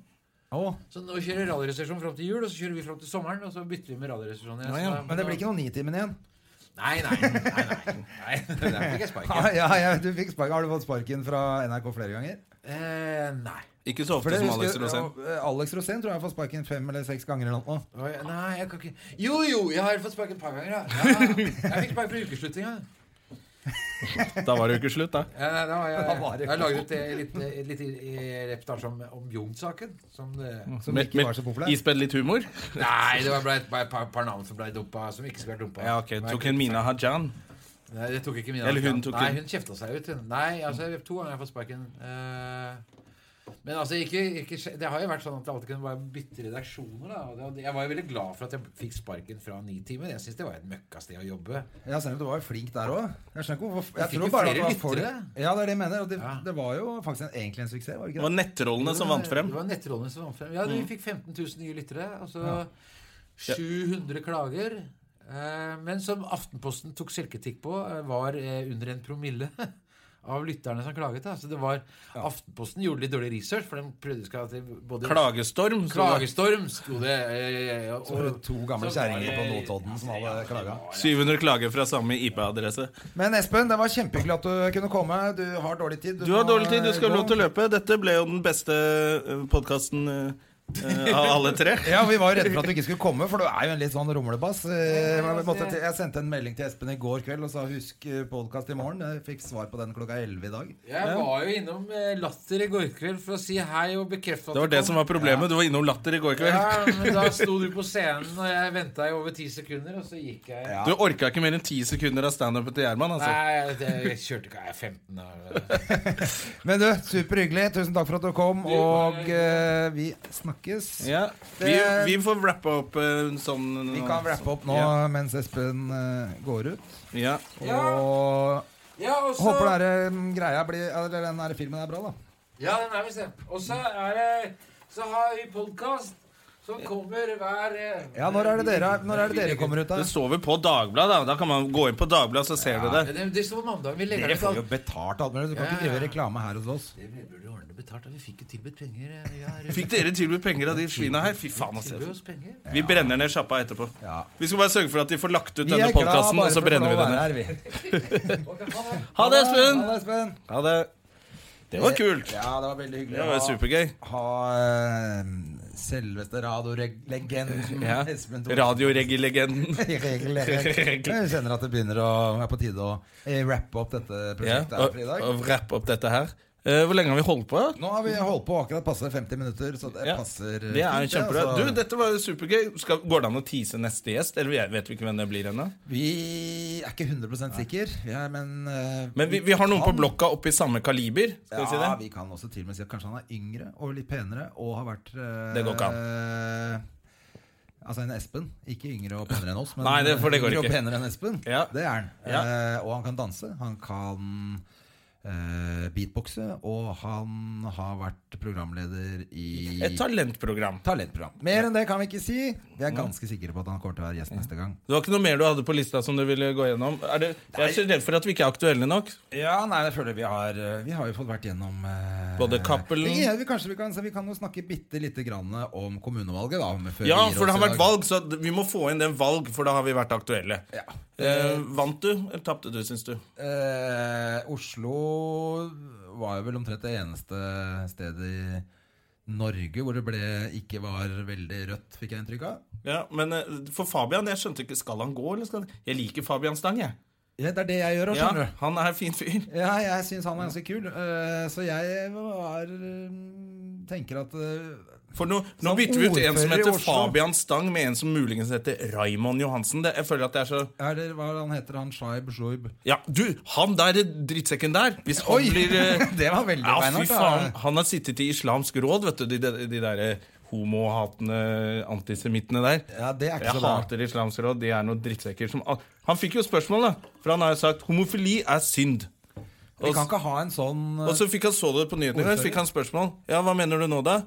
B: Å,
C: Så nå kjører Radioresepsjonen fram til jul, og så kjører vi fram til sommeren, og så bytter vi med Radioresepsjonen. igjen. Så da-
B: Men det blir ikke noen Nitimen igjen.
C: Nei, nei. nei, nei, nei. Der fikk jeg sparken.
B: Ja, ja, ja, du fikk spark. Har du fått sparken fra NRK flere ganger?
C: Eh, nei.
A: Ikke så
B: For
A: ofte
B: det
A: som Alex
B: husker-
A: Rosén.
B: ja, Alex Rosén tror jeg har fått sparken fem eller seks ganger. eller noe.
C: Oi, Nei, jeg kan ikke Jo, jo, jeg har fått sparken et par ganger, ja. ja. Jeg fikk sparken for ukeslutt en gang.
A: Da var det jo ikke slutt, da.
C: Ja, nei, da var jeg,
B: Da var det
C: jeg har laget et lite, et lite eh, reportasje om, om Jung-saken. Som det,
A: Mm.
B: Som ikke var så populær.
A: Ispedd litt humor?
C: nei, det var bare et bare et par, par navn som ble dumpa, som ikke skulle vært dumpa.
A: Ja, ok.
C: Nei,
A: Tok en Mina Hajan.
C: Nei, det tok ikke mine
A: Eller hun
C: navn.
A: tok
C: Nei,
A: hun.
C: hun kjefta seg ut. hun. Nei, altså, jeg- to ganger har jeg fått sparken. Eh, men altså, ikke, ikke, skje- det har jo vært sånn at jeg alltid kunne bare bytte redaksjoner. Da. og det- Jeg var jo veldig glad for at jeg fikk sparken fra Nitimen. Jeg syns det var et møkkasted å jobbe.
B: Ja, selv om du var jo flink der òg. Jeg skjønner ikke hvorfor jeg
C: fikk
B: tror
C: jo
B: bare at
C: flere
B: det var folk-
C: lyttere.
B: Ja, det er det jeg mener. Og det,
C: Ja.
B: det var jo faktisk en, egentlig en suksess, var det
A: Det
B: ikke
A: var
B: det?
A: nettrollene som vant frem. Mm.
C: Det var nettrollene som vant frem. Ja, vi fikk 15 000 nye lyttere. Og så 700 klager. Eh, men som Aftenposten tok selvkritikk på, eh, var eh, under en promille. Av lytterne som klaget. Da. Så det var, Aftenposten gjorde litt dårlig research, for de prøvde å skal til både
A: Klagestorm. så det-
C: Klagestorm, sto det. eh, og-
B: Så var det to gamle kjerringer på Notodden som hadde klaga.
A: 700 klager fra samme IP-adresse.
B: Men Espen, det var kjempehyggelig at du kunne komme. Du har dårlig tid.
A: Du har dårlig tid, du skal ha lov til å løpe. Dette ble jo den beste eh, podkasten eh, av alle tre.
B: Ja, Vi var jo redde for at du ikke skulle komme, for du er jo en litt sånn rumlebass. Eh, Jeg, måtte,
C: altså.
B: til- jeg sendte en melding til Espen i går kveld og sa 'husk podkast i morgen'. Jeg fikk svar på den klokka 11 i dag.
C: Jeg var jo innom eh, Latter i går kveld for å si hei og bekrefte at
A: Det var det som var problemet. Du var innom Latter i går kveld.
C: Ja, men da sto du på scenen, og jeg venta i over ti sekunder, og så gikk jeg.
A: Du orka ikke mer enn ti sekunder av standupen til Gjerman.
B: Sånn.
A: Altså.
C: Nei, det, jeg kjørte ikke jeg er 15 år.
B: Men du, superhyggelig. Tusen takk for at du kom, og eh, vi snakkes. snakkes.
A: Ja. Vi,
B: Det-
A: vi får wrappe opp eh, sånn
B: Vi kan wrappe opp nå
A: Ja.
B: mens Espen eh, går ut.
A: Ja.
B: Og
C: Ja, og så-
B: håper den her, mm, greia blir Eller den her filmen er bra, da.
C: Ja, den er visst det. Og så er det Så har vi podkast som kommer hver eh,
B: Ja, når er det dere, når er det dere kommer ut, da?
A: Det står vel på Dagbladet, da. Da kan man gå inn på Dagbladet, så ser du det.
C: Det, det står på mandag. Vi legger
B: Dere
C: det
B: får jo
C: ut.
B: betalt alt mulig. Du kan ikke drive reklame her hos oss.
C: Vi burde ordne betalt. da. Vi fikk jo tilbudt penger. eh, Vi har
A: Fikk dere tilbudt penger av de svina her? Fy faen, ass.
C: tilbudt oss penger.
A: Vi brenner ned sjappa etterpå.
B: Ja.
A: Vi skal bare sørge for at de får lagt ut
B: Vi
A: denne
B: er glad
A: podkasten,
B: bare
A: og så
B: for å få
A: brenner vi
B: lov å
A: den ned.
B: være her, vi.
A: Ha det, Espen!
B: Ha det, Espen.
A: Ha det. Det var kult.
B: Ja, det var veldig hyggelig.
A: Det var
B: å ha-
A: supergøy.
B: Ha eh, selveste radiolegenden
A: Ja.
B: Espen Thorsen.
A: Radioreggelegenden.
B: Regler. Jeg kjenner at det begynner å er på tide å eh, rappe opp dette
A: Ja.
B: prosjektet her
A: Og,
B: for i dag.
A: og wrappe opp dette her. Eh, Hvor lenge har vi holdt på?
B: Nå har vi holdt på akkurat passe 50 minutter, så det
A: Ja.
B: passer
A: Det er jo
B: fint,
A: kjempebra.
B: altså.
A: Du, dette var jo supergøy. Skal, går det an å tease neste gjest? Eller jeg vet vi ikke hvem det blir ennå?
B: Vi er ikke 100 sikre, men, eh,
A: Men vi, vi har noen på blokka oppe i samme kaliber. Skal vi si
B: Ja,
A: det?
B: vi kan også til og med si at kanskje han er yngre og litt penere og har vært eh,
A: Det går ikke
B: eh, Altså en Espen. Ikke yngre og penere enn oss, men
A: Nei, det- for det går
B: yngre
A: ikke.
B: og penere enn Espen.
A: Ja.
B: Det er han.
A: Ja.
B: Eh, og han kan danse. Han kan eh, beatboxe, og han har vært programleder i
A: Et talentprogram. Mm.
B: talentprogram. Mer enn det kan vi ikke si. Vi er ganske sikre på at han kommer til å være gjest neste gang.
A: Det var ikke noe mer du hadde på lista som du ville gå gjennom? Er det, jeg er så redd for at vi ikke er aktuelle nok.
B: Ja, nei, jeg føler vi har eh, Vi har jo fått vært gjennom eh,
A: Både Cappelen-
B: ja, vi, Kanskje vi kan, så vi kan jo snakke bitte lite grann om kommunevalget, da. om- før
A: Ja,
B: vi gir
A: for det
B: oss
A: har
B: i
A: vært
B: dag.
A: valg, så vi må få inn den valg, for da har vi vært aktuelle. Eh, vant du, eller tapte du, syns du?
B: Eh, Oslo var jo vel omtrent det eneste stedet i Norge hvor det ble, ikke var veldig rødt, fikk jeg inntrykk av.
A: Ja, Men eh, for Fabian, jeg skjønte ikke Skal han gå, eller skal han Jeg liker Fabian Stang, jeg.
B: Ja, det er det jeg gjør òg,
A: Ja,
B: skjønner du.
A: han er en fin fyr.
B: Ja, jeg syns han er ganske kul, eh, så jeg var mm, Tenker at eh,
A: For nå, nå
B: Som
A: bytter vi ut en
B: ordfører
A: som
B: i
A: heter
B: Oslo.
A: Fabian Stang, med en som muligens heter Raymond Johansen. Det, jeg føler at det er så
B: Er det hva han heter han? Shaib Shoib?
A: Ja, du! Han der eh, drittsekken der! Hvis han
B: Oi!
A: blir eh,
B: Det var veldig
A: Ja, fy
B: beinhardt, da.
A: faen. Han har sittet i Islamsk råd, vet du. De, de, de derre homohatende antisemittene der.
B: Ja, det er ikke
A: Jeg
B: så bra.
A: hater Islamsk råd. De er noen drittsekker som al- Han fikk jo spørsmål, da. For han har jo sagt 'homofili er synd'.
B: Vi
A: Og,
B: kan ikke ha en sånn
A: og så fikk han så det på nyhetene i går, så fikk han spørsmål. Ja, hva mener du nå, da?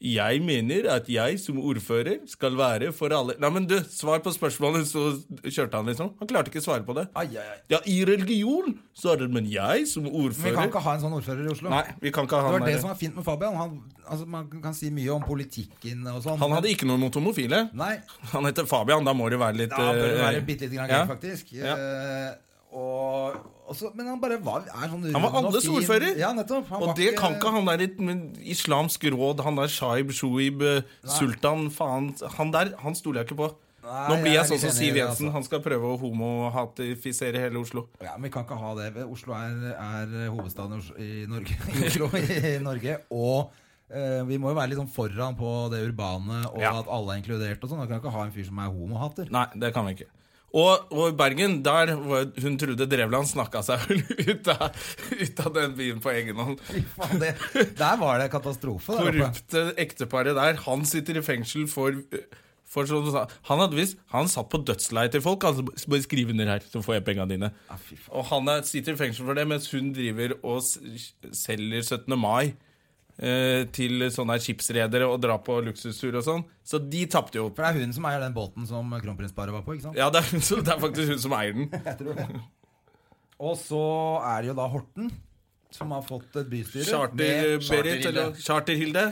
A: Jeg mener at jeg som ordfører skal være for alle Nei, men du, svar på spørsmålet, så kjørte han, liksom. Han klarte ikke å svare på det.
B: Ai, ai, ai.
A: Ja, i religion, så er det Men jeg som
B: Vi kan
A: ordfører
B: ikke ha en sånn ordfører i Oslo.
A: Nei, vi kan ikke ha
B: det
A: han
B: var det
A: der.
B: som var fint med Fabian. Han, altså, man kan si mye om politikken og sånn.
A: Han hadde ikke noe mot homofile.
B: Nei,
A: Han heter Fabian, da må det være litt
B: da bør det
A: eh,
B: være bitte lite grann
A: ja.
B: gøy, faktisk.
A: Ja.
B: Eh, og, og så- men han bare var er sånn
A: Han
B: rund
A: var
B: og
A: alles
B: fin.
A: ordfører!
B: Ja, nettopp. Han var
A: og det
B: ikke-
A: kan ikke han der i- med Islamsk råd, han der Shaib, Shuib, eh, Sultan, faen Han der han stoler jeg ikke på.
B: Nei,
A: Nå blir
B: jeg
A: jeg
B: er
A: sånn
B: litt
A: som
B: enig i
A: Siv
B: det,
A: Jensen.
B: altså.
A: Han skal prøve å homohatifisere hele Oslo.
B: Ja, men Vi kan ikke ha det. Oslo er, er hovedstaden i Os- i Norge, i Oslo, i Norge og eh, vi må jo være litt sånn foran på det urbane, og
A: Ja.
B: at alle er inkludert. og sånn. Da kan vi ikke ha en fyr som er homohater.
A: Nei, det kan vi ikke. Og, og i Bergen, der var hun Trude Drevland snakka seg vel ut av, ut av den byen på egen hånd.
B: Fy faen, det, der var det katastrofe. Der oppe.
A: korrupte ekteparet der, han sitter i fengsel for for sånn som du sa, han, hadde visst, han satt på dødsleiet til folk. Han sa, bare skriv under her, så får jeg penga dine.
B: fy faen.
A: og han er, sitter i fengsel for det, mens hun driver og s- selger 17. mai eh, til sånne her skipsredere og drar på luksustur og sånn. Så de tapte jo.
B: For det er hun som eier den båten som kronprinsparet var på, ikke sant?
A: Ja, det er, hun som- det er faktisk hun som eier den.
B: Og så er det jo da Horten, som har fått et bystyre. med-
A: Charter-Berit eh, eller Charter-Hilde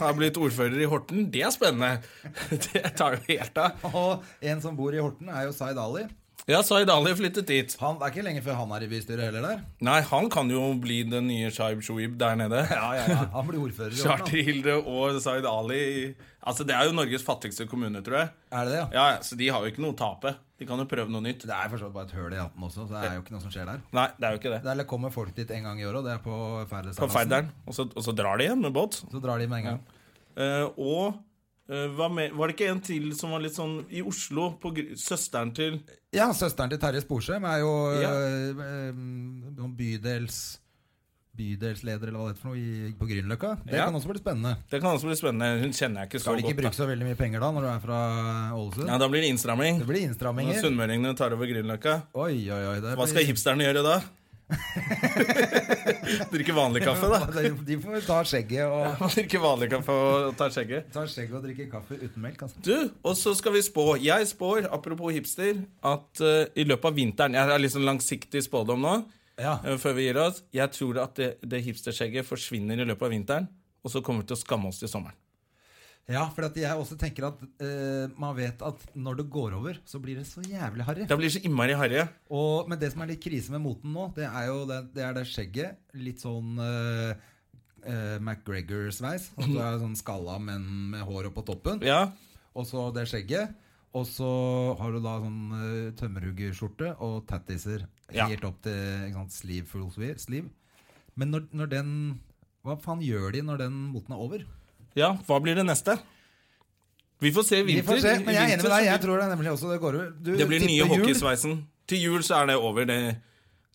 A: har blitt ordfører i Horten. Det er spennende! Det tar jo helt av.
B: Og en som bor i Horten, er jo Zaid Ali.
A: Ja, Zaid Ali flyttet dit.
B: Han, det er ikke lenge før han er i bystyret heller der.
A: Nei, han kan jo bli den nye Shaib Shoaib der nede.
B: Han blir ordfører i Horten. da.
A: Charter-Hilde og Zaid Ali i- Altså, Det er jo Norges fattigste kommune, tror jeg.
B: Er det det, ja?
A: Ja, ja, Så de har jo ikke noe å tape. De kan jo prøve noe nytt.
B: Det er for så vidt bare et høl i hatten også, så det er jo ikke noe som skjer der.
A: Nei, det er jo ikke det.
B: Der kommer folk dit en gang i året, og det er på
A: På
B: ferdesalas.
A: Færderen. Og så, og så drar de igjen med båt.
B: Så drar de med en gang.
A: Eh, og eh, hva med, var det ikke en til som var litt sånn i Oslo? På gr søsteren til
B: Ja, søsteren til Terje Sporsem er jo
A: Ja.
B: øh, øh, noen eh, bydels bydelsleder eller hva det heter for noe i, på Grünerløkka. Det
A: Ja.
B: kan også bli spennende.
A: Det kan også bli spennende. Hun kjenner jeg ikke så
B: Skal vel ikke bruke
A: godt.
B: så veldig mye penger da, når du er fra Ålesund?
A: Da. Ja, da blir det innstramming.
B: Det blir
A: Når
B: innstramminger.
A: sunnmøringene tar over Grünerløkka.
B: Oi, oi, oi. det
A: Hva
B: blir-
A: skal hipsterne gjøre da? Drikke vanlig kaffe, da.
B: De de får ta skjegget og,
A: Drikke vanlig kaffe og ta skjegget.
B: ta skjegget og drikke kaffe uten melk. Altså.
A: Du, og så skal vi spå. Jeg spår, apropos hipster, at eh, i løpet av vinteren Jeg er litt sånn langsiktig spådom nå,
B: Ja.
A: eh, før vi gir oss. Jeg tror at det, det hipsterskjegget forsvinner i løpet av vinteren, og så kommer vi til å skamme oss til sommeren.
B: Ja, for at jeg også tenker at eh, man vet at når det går over, så blir det så jævlig harry.
A: Det blir så innmari harry.
B: Og, men det som er litt krise med moten nå, det er jo det, det, er det skjegget. Litt sånn eh, eh, McGregor-sveis. At du er sånn skalla, men med håret på toppen.
A: Ja.
B: Og så det skjegget. Og så har du da sånn eh, tømmerhuggerskjorte og tattiser
A: Ja.
B: helt opp til ikke sant, sleeve, full sleeve- sleeve. Men når, når den Hva faen gjør de når den moten er over?
A: ja. Hva blir det neste? Vi får se i
B: Vi
A: vinter.
B: får se,
A: I- i
B: men jeg er enig
A: vinter
B: med deg.
A: så blir-
B: Jeg tror det nemlig også det går over. Du
A: Det blir den nye
B: tipper jul.
A: hockeysveisen. Til jul så er det over. Det,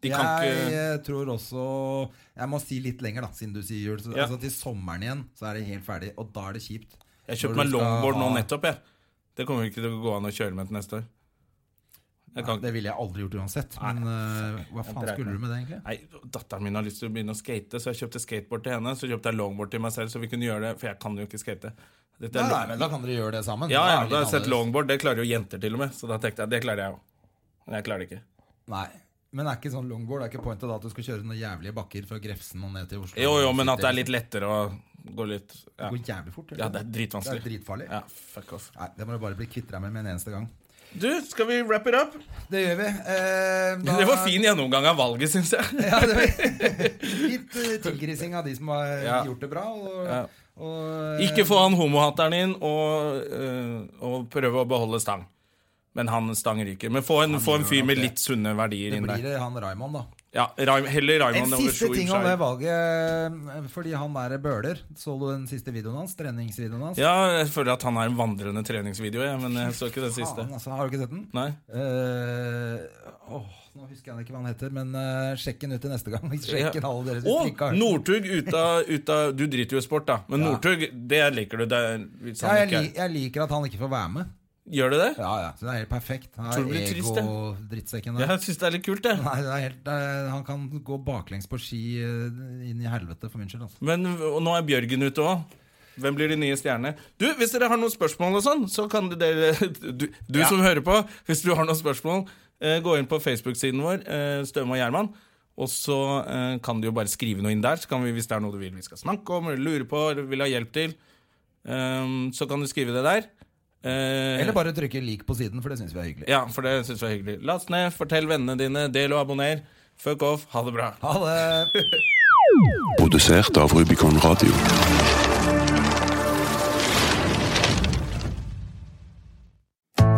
A: de kan
B: jeg
A: ikke
B: eh, tror også Jeg må si litt lenger, da, siden du sier jul. Så,
A: Ja.
B: altså, til sommeren igjen så er det helt ferdig, og da er det kjipt.
A: Jeg
B: Når
A: kjøpte
B: du
A: meg
B: skal
A: longboard nå
B: ha-
A: nettopp, jeg. Det kommer ikke til å gå an å kjøre med til neste år. Jeg kan
B: Det ville jeg aldri gjort uansett. Men eh, hva faen
A: dreit
B: skulle
A: meg.
B: du med det, egentlig?
A: Nei, Datteren min har lyst til å begynne å skate, så jeg kjøpte skateboard til henne. Så kjøpte jeg longboard til meg selv, så vi kunne gjøre det, for jeg kan jo ikke skate. Dette
B: Nei,
A: er
B: nei,
A: long...
B: men Da kan dere gjøre det sammen.
A: Ja, ja,
B: Det er litt
A: da har jeg sett
B: annerledes.
A: longboard, det klarer jo jenter til og med. Så da tenkte jeg det klarer jeg òg. Men jeg klarer det ikke.
B: Nei, Men er ikke sånn longboard Det er ikke pointet da at du skal kjøre noen jævlige bakker fra Grefsen og ned til Oslo?
A: Jo, jo, men at det er litt lettere å gå litt
B: Det
A: Ja,
B: går jævlig fort. eller?
A: ja det er dritvanskelig.
B: Det er dritfarlig.
A: Ja, fuck off.
B: Nei, Det må du bare bli kvitt deg med med en eneste gang.
A: Du, skal vi wrap it up?
B: Det gjør vi. Eh, da-
A: Det var fin gjennomgang av valget, syns jeg.
B: Ja, det var Litt eh, tilgrising av de som har
A: Ja.
B: gjort det bra. Og,
A: Ja.
B: og, eh,
A: Ikke få han homohateren inn og, eh, og prøve å beholde Stang. Men han Stang ryker. Men få en, få en
B: gjør
A: fyr
B: nok
A: med
B: det.
A: litt sunne verdier
B: Det
A: inn
B: blir
A: der.
B: det han Raymond, da.
A: Ja, Raim,
B: En
A: heller Raymond over
B: siste
A: Shoaib
B: ting om det
A: Shai.
B: valget. eh, Fordi han der Bøhler, så du den siste videoen hans? Treningsvideoen hans?
A: Ja, jeg føler at han er en vandrende treningsvideo, jeg, men jeg så ikke den siste.
B: Faen, altså, har du ikke sett den?
A: Nei.
B: Eh, åh, nå husker jeg ikke hva han heter, men eh, sjekk den ut til neste gang. Sjekk den alle dere som
A: Og
B: ikke har
A: Northug ut av, ut av Du driter jo i sport, da, men Northug, det liker du. Det, er- hvis
B: ja,
A: han
B: jeg, li
A: ikke,
B: jeg liker at han ikke får være med.
A: gjør du det?
B: Ja, ja, så Det er helt perfekt.
A: Tror
B: Han
A: du
B: er
A: det blir trist, det?
B: ego-drittsekken der.
A: Jeg syns det er litt kult, det.
B: Nei, det er helt, det er- han kan gå baklengs på ski eh, inn i helvete, for min skyld. Altså.
A: Men og nå er Bjørgen ute òg. Hvem blir de nye stjernene? Du, Hvis dere har noen spørsmål, og sånn, så kan dere Du, du som hører på, hvis du har noen spørsmål, eh, gå inn på Facebook-siden vår, eh, Støme og Gjerman. Og så eh, kan du jo bare skrive noe inn der, så kan vi, hvis det er noe du vil vi skal snakke om, eller lurer på, eller vil ha hjelp til, ehm, så kan du skrive det der. Eh,
B: Eller bare trykke lik på siden, for det syns vi er hyggelig.
A: Ja, for det syns vi er hyggelig. Last ned, fortell vennene dine, del og abonner. Fuck off, ha det bra.
B: Ha det!
D: Produsert av Rubicon Radio.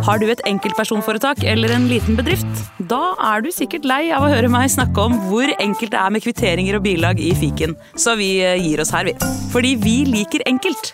E: Har du et enkeltpersonforetak eller en liten bedrift? Da er du sikkert lei av å høre meg snakke om hvor enkelt det er med kvitteringer og bilag i fiken, så vi eh, gir oss her, vi. Fordi vi liker enkelt.